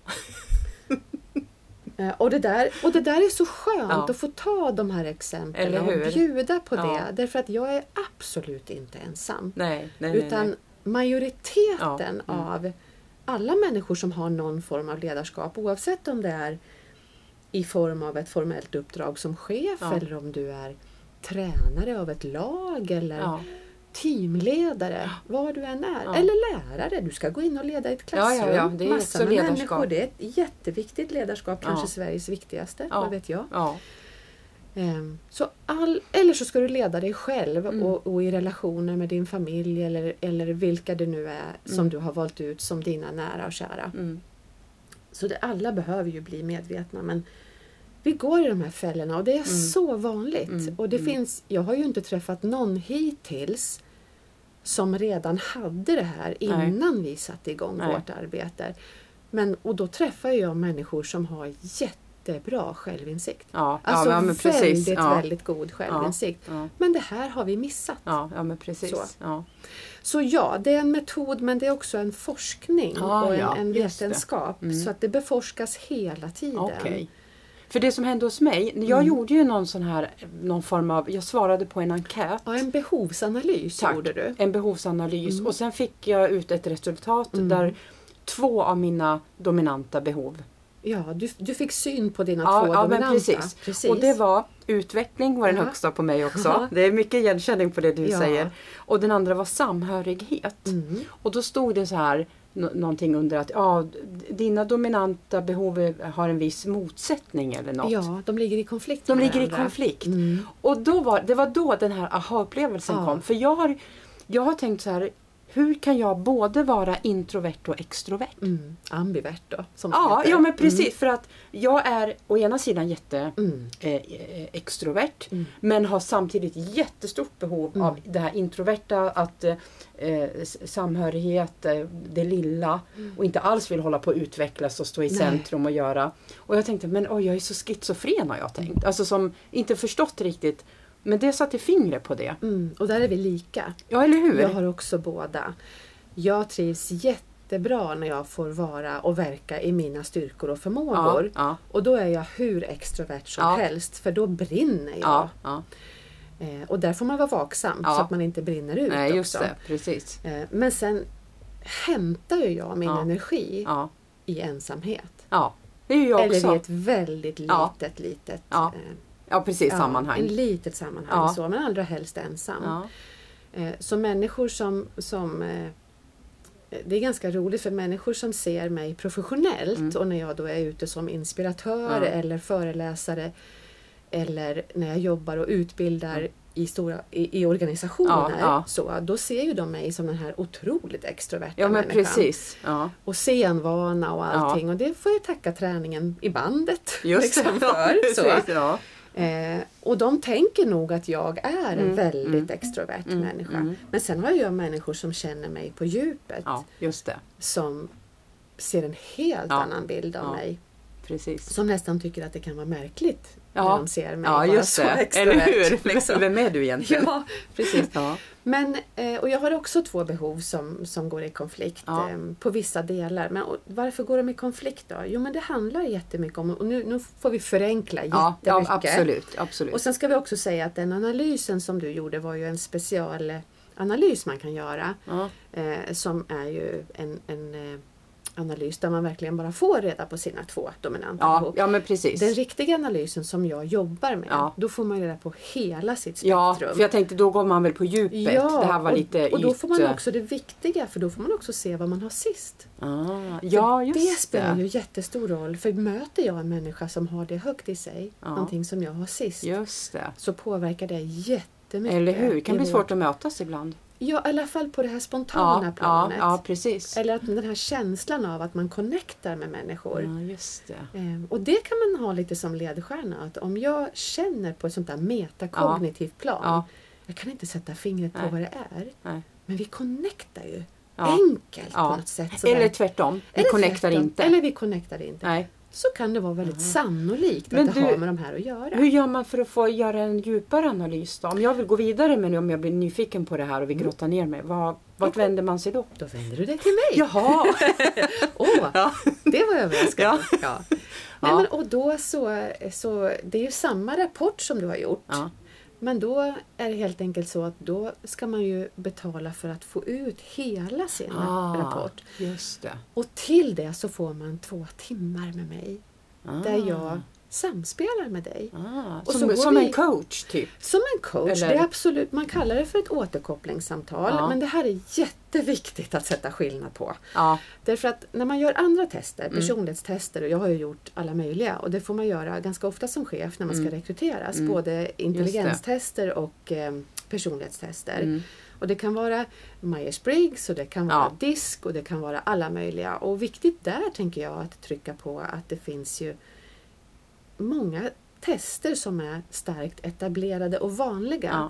Eh, Och det där, och det där är så skönt
Ja.
att få ta de här exemplen
Eller
och
hur?
bjuda på
Ja.
det. Därför att jag är absolut inte ensam.
Nej, nej,
utan
nej, Ja,
majoriteten
mm.
av alla människor som har någon form av ledarskap oavsett om det är i form av ett formellt uppdrag som chef
Ja.
eller om du är tränare av ett lag eller
nej. Ja.
teamledare, var du än är.
Ja.
Eller lärare, du ska gå in och leda i ett
Ja, ja,
klassrum.
ja, det är
Massa
också
med
ledarskap.
människor. Det är ett jätteviktigt ledarskap, kanske
Ja.
Sveriges viktigaste,
Ja.
vad vet jag.
Ja.
Ehm, Så all, eller så ska du leda dig själv och, och i relationer med din familj eller, eller vilka det nu är som du har valt ut som dina nära och kära.
Mm.
Så det, alla behöver ju bli medvetna men vi går i de här fällorna och det är så vanligt. Och det finns, jag har ju inte träffat någon hittills som redan hade det här innan vi satte igång
Nej.
vårt arbete. Men, och då träffar jag människor som har jättebra självinsikt.
Ja.
Alltså
ja, men precis.
väldigt,
ja.
väldigt god självinsikt.
Ja.
Men det här har vi missat.
Ja, ja, men precis.
Så.
Ja.
Så ja, det är en metod men det är också en forskning
Ah,
och en,
ja,
en
just det. Mm.
vetenskap. Så att det beforskas hela tiden.
Okej. För det som hände hos mig,
Mm.
jag gjorde ju någon sån här, någon form av, jag svarade på en enkät.
Ja, en behovsanalys
Tack.
gjorde du. Mm.
En behovsanalys och sen fick jag ut ett resultat där två av mina dominanta behov
Ja, du, du fick syn på dina
Ja,
två
ja men
dominanta.
precis. Och det var utveckling var den
Ja.
högsta på mig också.
Ja.
Det är mycket igenkänning på det du
Ja. Mm.
säger. Och den andra var samhörighet. Och då stod det så här nå- någonting under att ja, d- dina dominanta behov är- har en viss motsättning eller något.
Ja, de ligger i konflikt
De
med
ligger i
varandra. Mm,
konflikt. Och då var, det var då den här aha-upplevelsen
Ja.
kom. För jag har, jag har tänkt så här, Hur kan jag både vara introvert och extrovert?
Mm. Ambivert då? Som det
Ja,
heter.
ja men precis. För att jag är å ena sidan jätte
Mm.
eh, eh, extrovert
Mm.
men har samtidigt jättestort behov
Mm.
av det här introverta, att eh, eh, s- samhörighet, eh, det lilla och inte alls vill hålla på att utvecklas och stå i
Mm. Nej.
centrum och göra. Och jag tänkte, men oj, jag är så schizofren har jag
Mm.
tänkt. Alltså som inte förstått riktigt. Men det satte fingret på det.
Mm. Och där är vi lika.
Ja, eller hur?
Jag har också båda. Jag trivs jättebra när jag får vara och verka i mina styrkor och
ja,
förmågor.
ja,
Och då är jag hur extrovert som
Ja.
helst för då brinner jag.
ja, ja.
Eh, och där får man vara vaksam
Ja.
så att man inte brinner ut
Nej, just
också.
det. Precis.
Eh, men sen hämtar ju jag min
Ja.
energi
Ja,
i ensamhet.
ja. Det är ju jag
Eller i
också.
ett väldigt
Ja.
litet, litet
Ja.
eh,
Ja, precis.
ja,
sammanhang.
En litet sammanhang
Ja.
så, men allra helst ensam.
Ja,
Eh, Så människor som, som eh, det är ganska roligt för människor som ser mig professionellt
Mm.
och när jag då är ute som inspiratör
Ja.
eller föreläsare eller när jag jobbar och utbildar i, stora, i, i
Ja,
organisationer
ja.
Så, då ser ju de mig som den här otroligt extroverta
ja men
människan.
precis. Ja.
Och scenvana och allting och det får jag tacka träningen i bandet
Just det.
liksom,
Ja,
för. Så.
precis, ja.
Eh, och de tänker nog att jag är en
Mm,
väldigt
mm,
extrovert
mm,
människa.
mm.
Men sen har jag människor som känner mig på djupet
ja, just det.
som ser en helt
Ja,
annan bild av
ja.
mig.
Precis.
Som nästan tycker att det kan vara märkligt när
Ja,
de ser mig
Ja,
vara
just
så
det.
extrovert.
Eller hur?
Liksom.
Vem är du egentligen?
Ja, precis.
Ja.
Men, eh, och jag har också två behov som, som går i konflikt
Ja.
eh, på vissa delar. Men och, varför går de i konflikt då? Jo men det handlar jättemycket om, och nu, nu får vi förenkla
Ja,
jättemycket.
ja, absolut. absolut.
Och sen ska vi också säga att den analysen som du gjorde var ju en specialanalys man kan göra.
ja.
Eh, som är ju en, en eh, analys där man verkligen bara får reda på sina två dominanta
Ja,
behov.
ja, men precis.
Den riktiga analysen som jag jobbar med,
Ja.
då får man reda på hela sitt
Ja,
spektrum.
för jag tänkte då går man väl på djupet.
Ja,
det här var
och,
lite
och då får man
yt-
också det viktiga för då får man också se vad man har sist.
Ah,
För
ja, just
det spelar ju jättestor roll för möter jag en människa som har det högt i sig,
Ja.
någonting som jag har sist,
Just det.
så påverkar det jättemycket.
Eller hur? Det kan
i
bli
vår-
svårt att mötas ibland.
Ja, i alla fall på det här spontana
Ja, ja,
planet.
ja, precis.
Eller att den här känslan av att man connectar med människor.
Ja, just det.
Ehm, Och det kan man ha lite som ledstjärna, att om jag känner på ett sånt där metakognitivt plan,
Ja.
jag kan inte sätta fingret på
Nej.
vad det är,
Nej.
men vi connectar ju
Ja.
enkelt på
Ja.
något sätt. sådär.
Eller tvärtom. Vi
Eller
connectar
tvärtom.
inte.
Eller vi connectar inte.
Nej. Mm.
Så kan det vara väldigt sannolikt
Men
att
du-
det har med de här att göra.
Hur gör man för att få göra en djupare analys då? Om jag vill gå vidare men om jag blir nyfiken på det här och vill
Mm.
grotta ner mig, vad, vart vänder man sig då?
Då vänder du dig till mig.
Jaha!
Åh,
Ja.
det var överraskande. Ja. Nej,
Ja.
Men, och då så, så, det är ju samma rapport som du har gjort.
Ja.
Men då är det helt enkelt så att då ska man ju betala för att få ut hela sin
Ah.
rapport.
Just det.
Och till Ah. det så får man två timmar med mig
Ah.
där jag samspelar med dig.
Ah.
Och
Som,
så går
som
vi-
en coach typ?
Som en coach,
Eller-
det är absolut, man kallar det för ett återkopplingssamtal
Ja.
men det här är jätteviktigt att sätta skillnad på.
Ja.
Därför att när man gör andra tester,
Mm.
personlighetstester, och jag har ju gjort alla möjliga och det får man göra ganska ofta som chef när man
Mm.
ska rekryteras, både intelligenstester och eh, personlighetstester.
Mm.
Och det kan vara Myers-Briggs och det kan vara
Ja.
DISK och det kan vara alla möjliga. Och viktigt där tänker jag att trycka på att det finns ju många tester som är starkt etablerade och vanliga
Ja.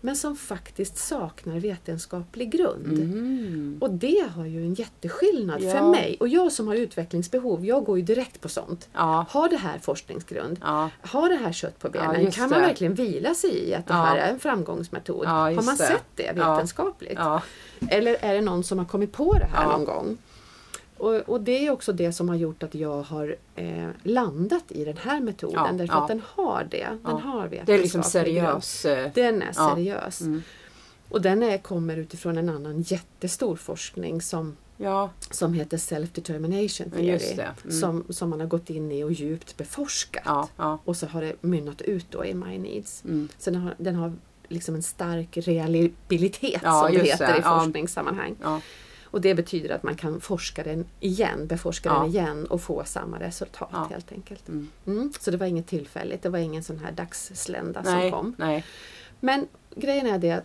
men som faktiskt saknar vetenskaplig grund.
Mm.
Och det har ju en jätteskillnad
Ja.
för mig. Och jag som har utvecklingsbehov, jag går ju direkt på sånt.
Ja.
Har det här forskningsgrund?
Ja.
Har det här kött på
Ja,
benen?
just
kan man
det.
verkligen vila sig i att det
Ja.
här är en framgångsmetod?
Ja,
har
just
man
det.
sett det
Ja.
vetenskapligt?
Ja.
Eller är det någon som har kommit på det här
Ja.
någon gång? Och, och det är också det som har gjort att jag har eh, landat i den här metoden
Ja,
därför
ja.
att den har det. Den
Ja.
har
Det är liksom
vetenskaplig grund.
seriös. eh,
Den är
Ja.
seriös.
Mm.
Och den är, kommer utifrån en annan jättestor forskning som,
Ja.
som heter Self-Determination
Ja,
Theory.
just det. Mm.
som, som man har gått in i och djupt beforskat.
Ja. Ja.
Och så har det mynnat ut då i My Needs.
Mm.
Så den har, den har liksom en stark reliabilitet
Ja,
som det
just
heter
det.
i
Ja.
forskningssammanhang.
Ja.
Och det betyder att man kan forska den igen, beforska
Ja.
den igen och få samma resultat
Ja.
helt enkelt.
Mm.
Mm. Så det var inget tillfälligt, det var ingen sån här dagsslända som
Nej.
kom.
Nej.
Men grejen är det att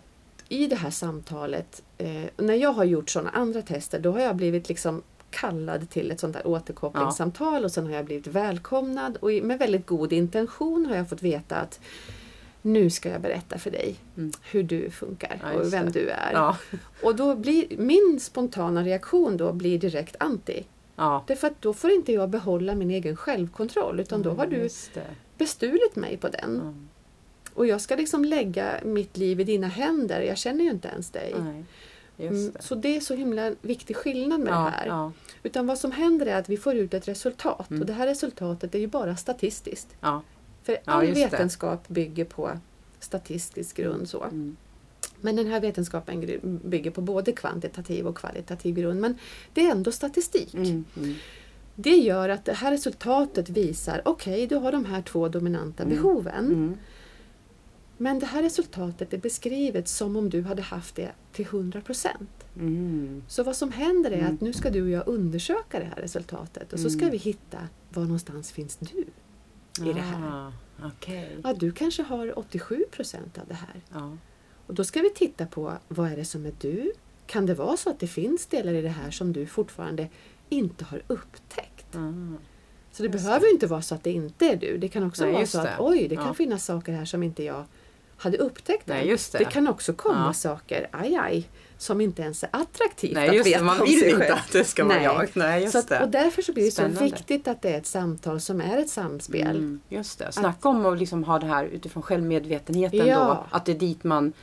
i det här samtalet, eh, när jag har gjort sådana andra tester, då har jag blivit liksom kallad till ett sånt där återkopplingssamtal och sen har jag blivit välkomnad och i- med väldigt god intention har jag fått veta att nu ska jag berätta för dig
Mm.
hur du funkar
Ja, just
och vem
det.
du är.
Ja.
Och då blir min spontana reaktion då blir direkt anti.
Ja.
Därför att då får inte jag behålla min egen självkontroll utan
Mm.
då har du Mm.
Just det.
bestulit mig på den.
Ja.
Och jag ska liksom lägga mitt liv i dina händer, jag känner ju inte ens dig.
Nej.
Mm,
Just det.
så det är så himla viktig skillnad med det
Ja,
här.
ja,
Utan vad som händer är att vi får ut ett resultat
Mm.
och det här resultatet är ju bara statistiskt.
ja.
För all
just det.
vetenskap bygger på statistisk grund. Så.
Mm.
Men den här vetenskapen gr- bygger på både kvantitativ och kvalitativ grund. Men det är ändå statistik.
Mm. Mm.
Det gör att det här resultatet visar, okej du har de här två dominanta
Mm.
behoven.
Mm.
Men det här resultatet är beskrivet som om du hade haft det till 100 procent.
Mm.
Så vad som händer är
Mm.
att nu ska du och jag undersöka det här resultatet och så ska
Mm.
vi hitta var någonstans finns du i det här.
Ah, Okej.
Ja, du kanske har 87 procent av det här.
Ja.
Och då ska vi titta på vad är det som är du? Kan det vara så att det finns delar i det här som du fortfarande inte har upptäckt?
Ah.
Så det behöver ju inte vara så att det inte är du. Det kan också
Nej,
vara
just
så att
det.
oj, det kan
Ja.
finnas saker här som inte jag hade upptäckt
Nej,
än.
just det.
kan också komma
Ja.
saker, aj aj, som inte ens är attraktivt
Nej,
att
just
veta
det. Man
om
vill
sig
inte
själv.
att det ska vara
Nej.
jag. Nej, just
Så att,
det.
och därför så blir det så
Spännande.
viktigt att det är ett samtal som är ett samspel.
Mm, just det. Snacka om att liksom ha det här utifrån självmedvetenheten
Ja.
då. Att det är dit man...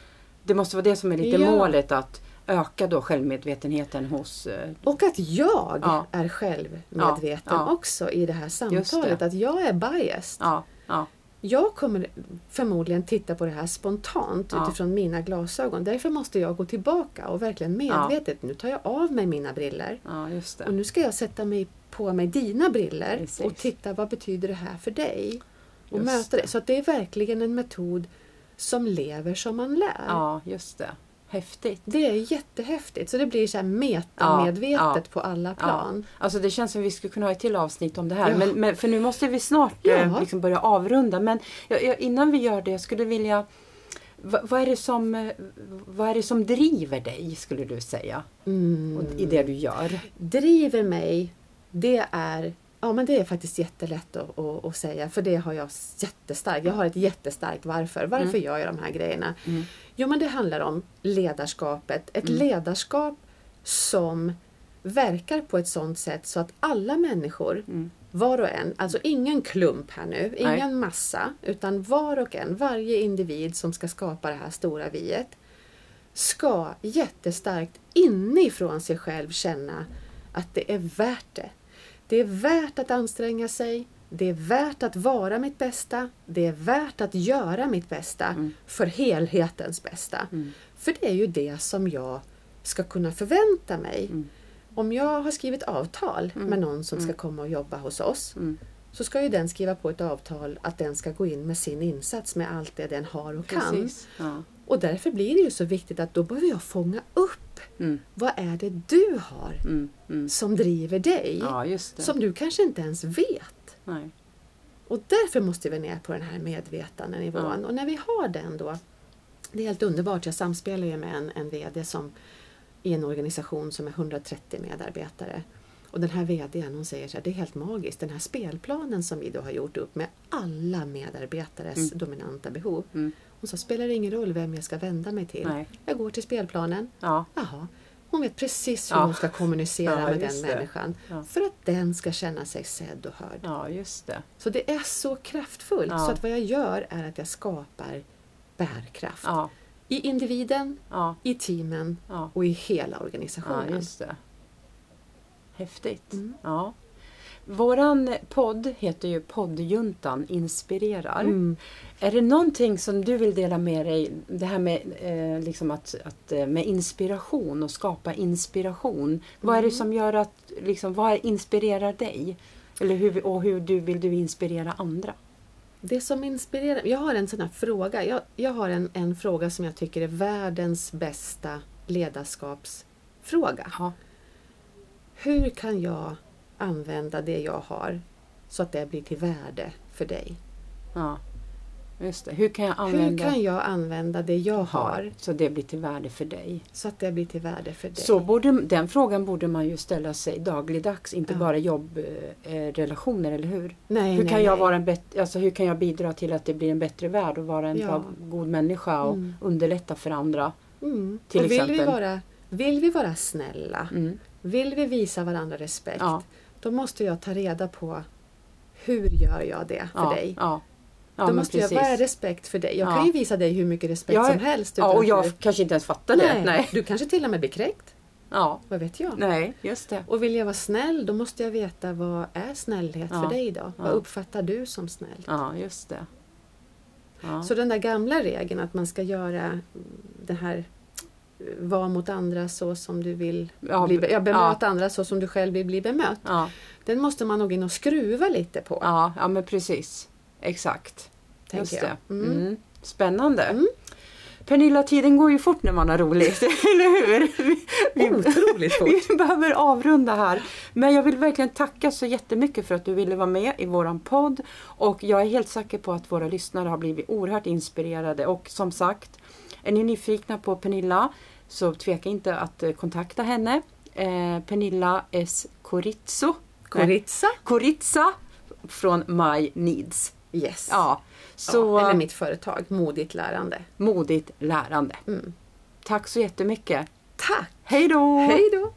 Det måste vara det som är lite
Ja.
målet att öka då självmedvetenheten hos... eh,
Och att jag
Ja.
är självmedveten
Ja, ja.
också i det här samtalet.
det.
Att jag är biased.
Ja, ja,
Jag kommer förmodligen titta på det här spontant
Ja.
utifrån mina glasögon. Därför måste jag gå tillbaka och verkligen
Ja.
medvetet, nu tar jag av mig mina briller
ja, just
och
det.
nu ska jag sätta mig på mig dina briller
Precis.
och titta vad betyder det här för dig? Och
Just
möta det.
det.
Så att det är verkligen en metod som lever som man lär.
Ja, just det. Häftigt.
Det är jättehäftigt. Så det blir så här metamedvetet
Ja, ja.
på alla
Ja.
plan.
Alltså det känns som vi skulle kunna ha ett till avsnitt om det här.
Ja.
Men, men, för nu måste vi snart eh,
Ja.
liksom börja avrunda. Men jag, jag, innan vi gör det, jag skulle vilja... Va, vad, är det som, eh, vad är det som driver dig, skulle du säga?
Mm.
Och, I det du gör?
driver mig, det är Ja men det är faktiskt jättelätt att, att, att säga för det har jag jättestarkt. Jag har ett jättestarkt varför. Varför gör jag de här grejerna? Jo men det handlar om ledarskapet. Ett ledarskap som verkar på ett sånt sätt så att alla människor,
Mm.
var och en, alltså ingen klump här nu, ingen
Nej.
massa, utan var och en, varje individ som ska skapa det här stora viet ska jättestarkt inifrån sig själv känna att det är värt det. Det är värt att anstränga sig. Det är värt att vara mitt bästa. Det är värt att göra mitt bästa för helhetens bästa. För det är ju det som jag ska kunna förvänta mig. Om jag har skrivit avtal
Mm.
med någon som ska komma och jobba hos oss så ska ju den skriva på ett avtal att den ska gå in med sin insats med allt det den har och kan.
Ja.
Och därför blir det ju så viktigt att då behöver jag fånga upp
Mm.
vad är det du har
Mm, mm.
som driver dig?
ja, just det.
som du kanske inte ens vet.
Nej.
Och därför måste vi ner på den här medvetande nivån. Och när vi har den då, det är helt underbart. Jag samspelar ju med en, en VD som i en organisation som är 130 medarbetare. Och den här VDn hon säger så här, det är helt magiskt. Den här spelplanen som vi då har gjort upp med alla medarbetares dominanta behov.
Mm.
Hon sa, spelar det ingen roll vem jag ska vända mig till?
Nej.
Jag går till spelplanen.
Ja.
Jaha, hon vet precis hur
Ja.
hon ska kommunicera
Ja,
med den
just det.
människan.
Ja.
För att den ska känna sig sedd och hörd.
ja, just det.
Så det är så kraftfullt.
Ja.
Så att vad jag gör är att jag skapar bärkraft.
Ja,
I individen,
ja,
i teamen
ja.
och i hela
ja
organisationen.
just det. Häftigt.
Mm.
Ja. Våran podd heter ju Poddjuntan inspirerar.
Mm.
Är det någonting som du vill dela med dig, det här med, eh, liksom att, att, eh, med inspiration och skapa inspiration. Vad är
Mm.
det som gör att, liksom, vad är- inspirerar dig? Eller hur, och hur du, vill du inspirera andra?
Det som inspirerar Jag har en sån här fråga. Jag, jag har en, en fråga som jag tycker är världens bästa ledarskapsfråga.
Ja.
Hur kan jag använda det jag har så att det blir till värde för dig?
ja. Just det. Hur kan jag
Hur
använda
kan jag använda det jag har
så det blir till värde för dig?
så att det blir till värde för dig?
Så borde, den frågan borde man ju ställa sig dagligdags, inte
Ja.
bara jobbrelationer, eller hur?
nej,
hur,
nej,
kan jag
nej.
vara en bet- alltså, hur kan jag bidra till att det blir en bättre värld och vara en
Ja.
bra, god människa och
Mm.
underlätta för andra?
Mm.
till
och vill Vi
exempel?
vara, vill vi vara snälla,
Mm.
vill vi visa varandra respekt,
Ja.
då måste jag ta reda på hur gör jag det för
ja,
dig?
Ja. Ja,
Då
men
måste
precis.
jag, vad är respekt för dig? Jag
Ja.
kan ju visa dig hur mycket respekt
Jag är-
som helst.
Ja,
utan
och
att
jag
du,
kanske inte ens fattar
nej,
det. Nej.
Du kanske till och med blir kränkt,
Ja.
vad vet jag?
Nej, just det.
Och vill jag vara snäll, då måste jag veta vad är snällhet
Ja.
för dig då? Vad
Ja.
uppfattar du som snällt?
Ja, just det. Ja.
Så den där gamla regeln att man ska göra mm, det här eh, vara mot andra så som du vill
Ja,
bli,
be-
be- ja, bemöta andra så som du själv vill bli bemött.
ja,
Den måste man nog in och skruva lite på.
ja, ja, men precis. Exakt.
tänker
Just
jag.
det.
Mm.
Mm. Spännande.
Mm.
Pernilla, tiden går ju fort när man har roligt, eller hur? Vi,
Otroligt fort!
vi behöver avrunda här. Men jag vill verkligen tacka så jättemycket för att du ville vara med i våran podd. Och jag är helt säker på att våra lyssnare har blivit oerhört inspirerade. Och som sagt, är ni nyfikna på Pernilla så tveka inte att eh, kontakta henne. Eh, Pernilla S. Corizzo.
Koritsa?
Corizza från My Needs.
Yes.
Ja,
Ja,
så
Eller mitt företag, Modigt lärande.
modigt lärande.
Mm.
Tack så jättemycket.
Tack!
Hej då!
Hej då!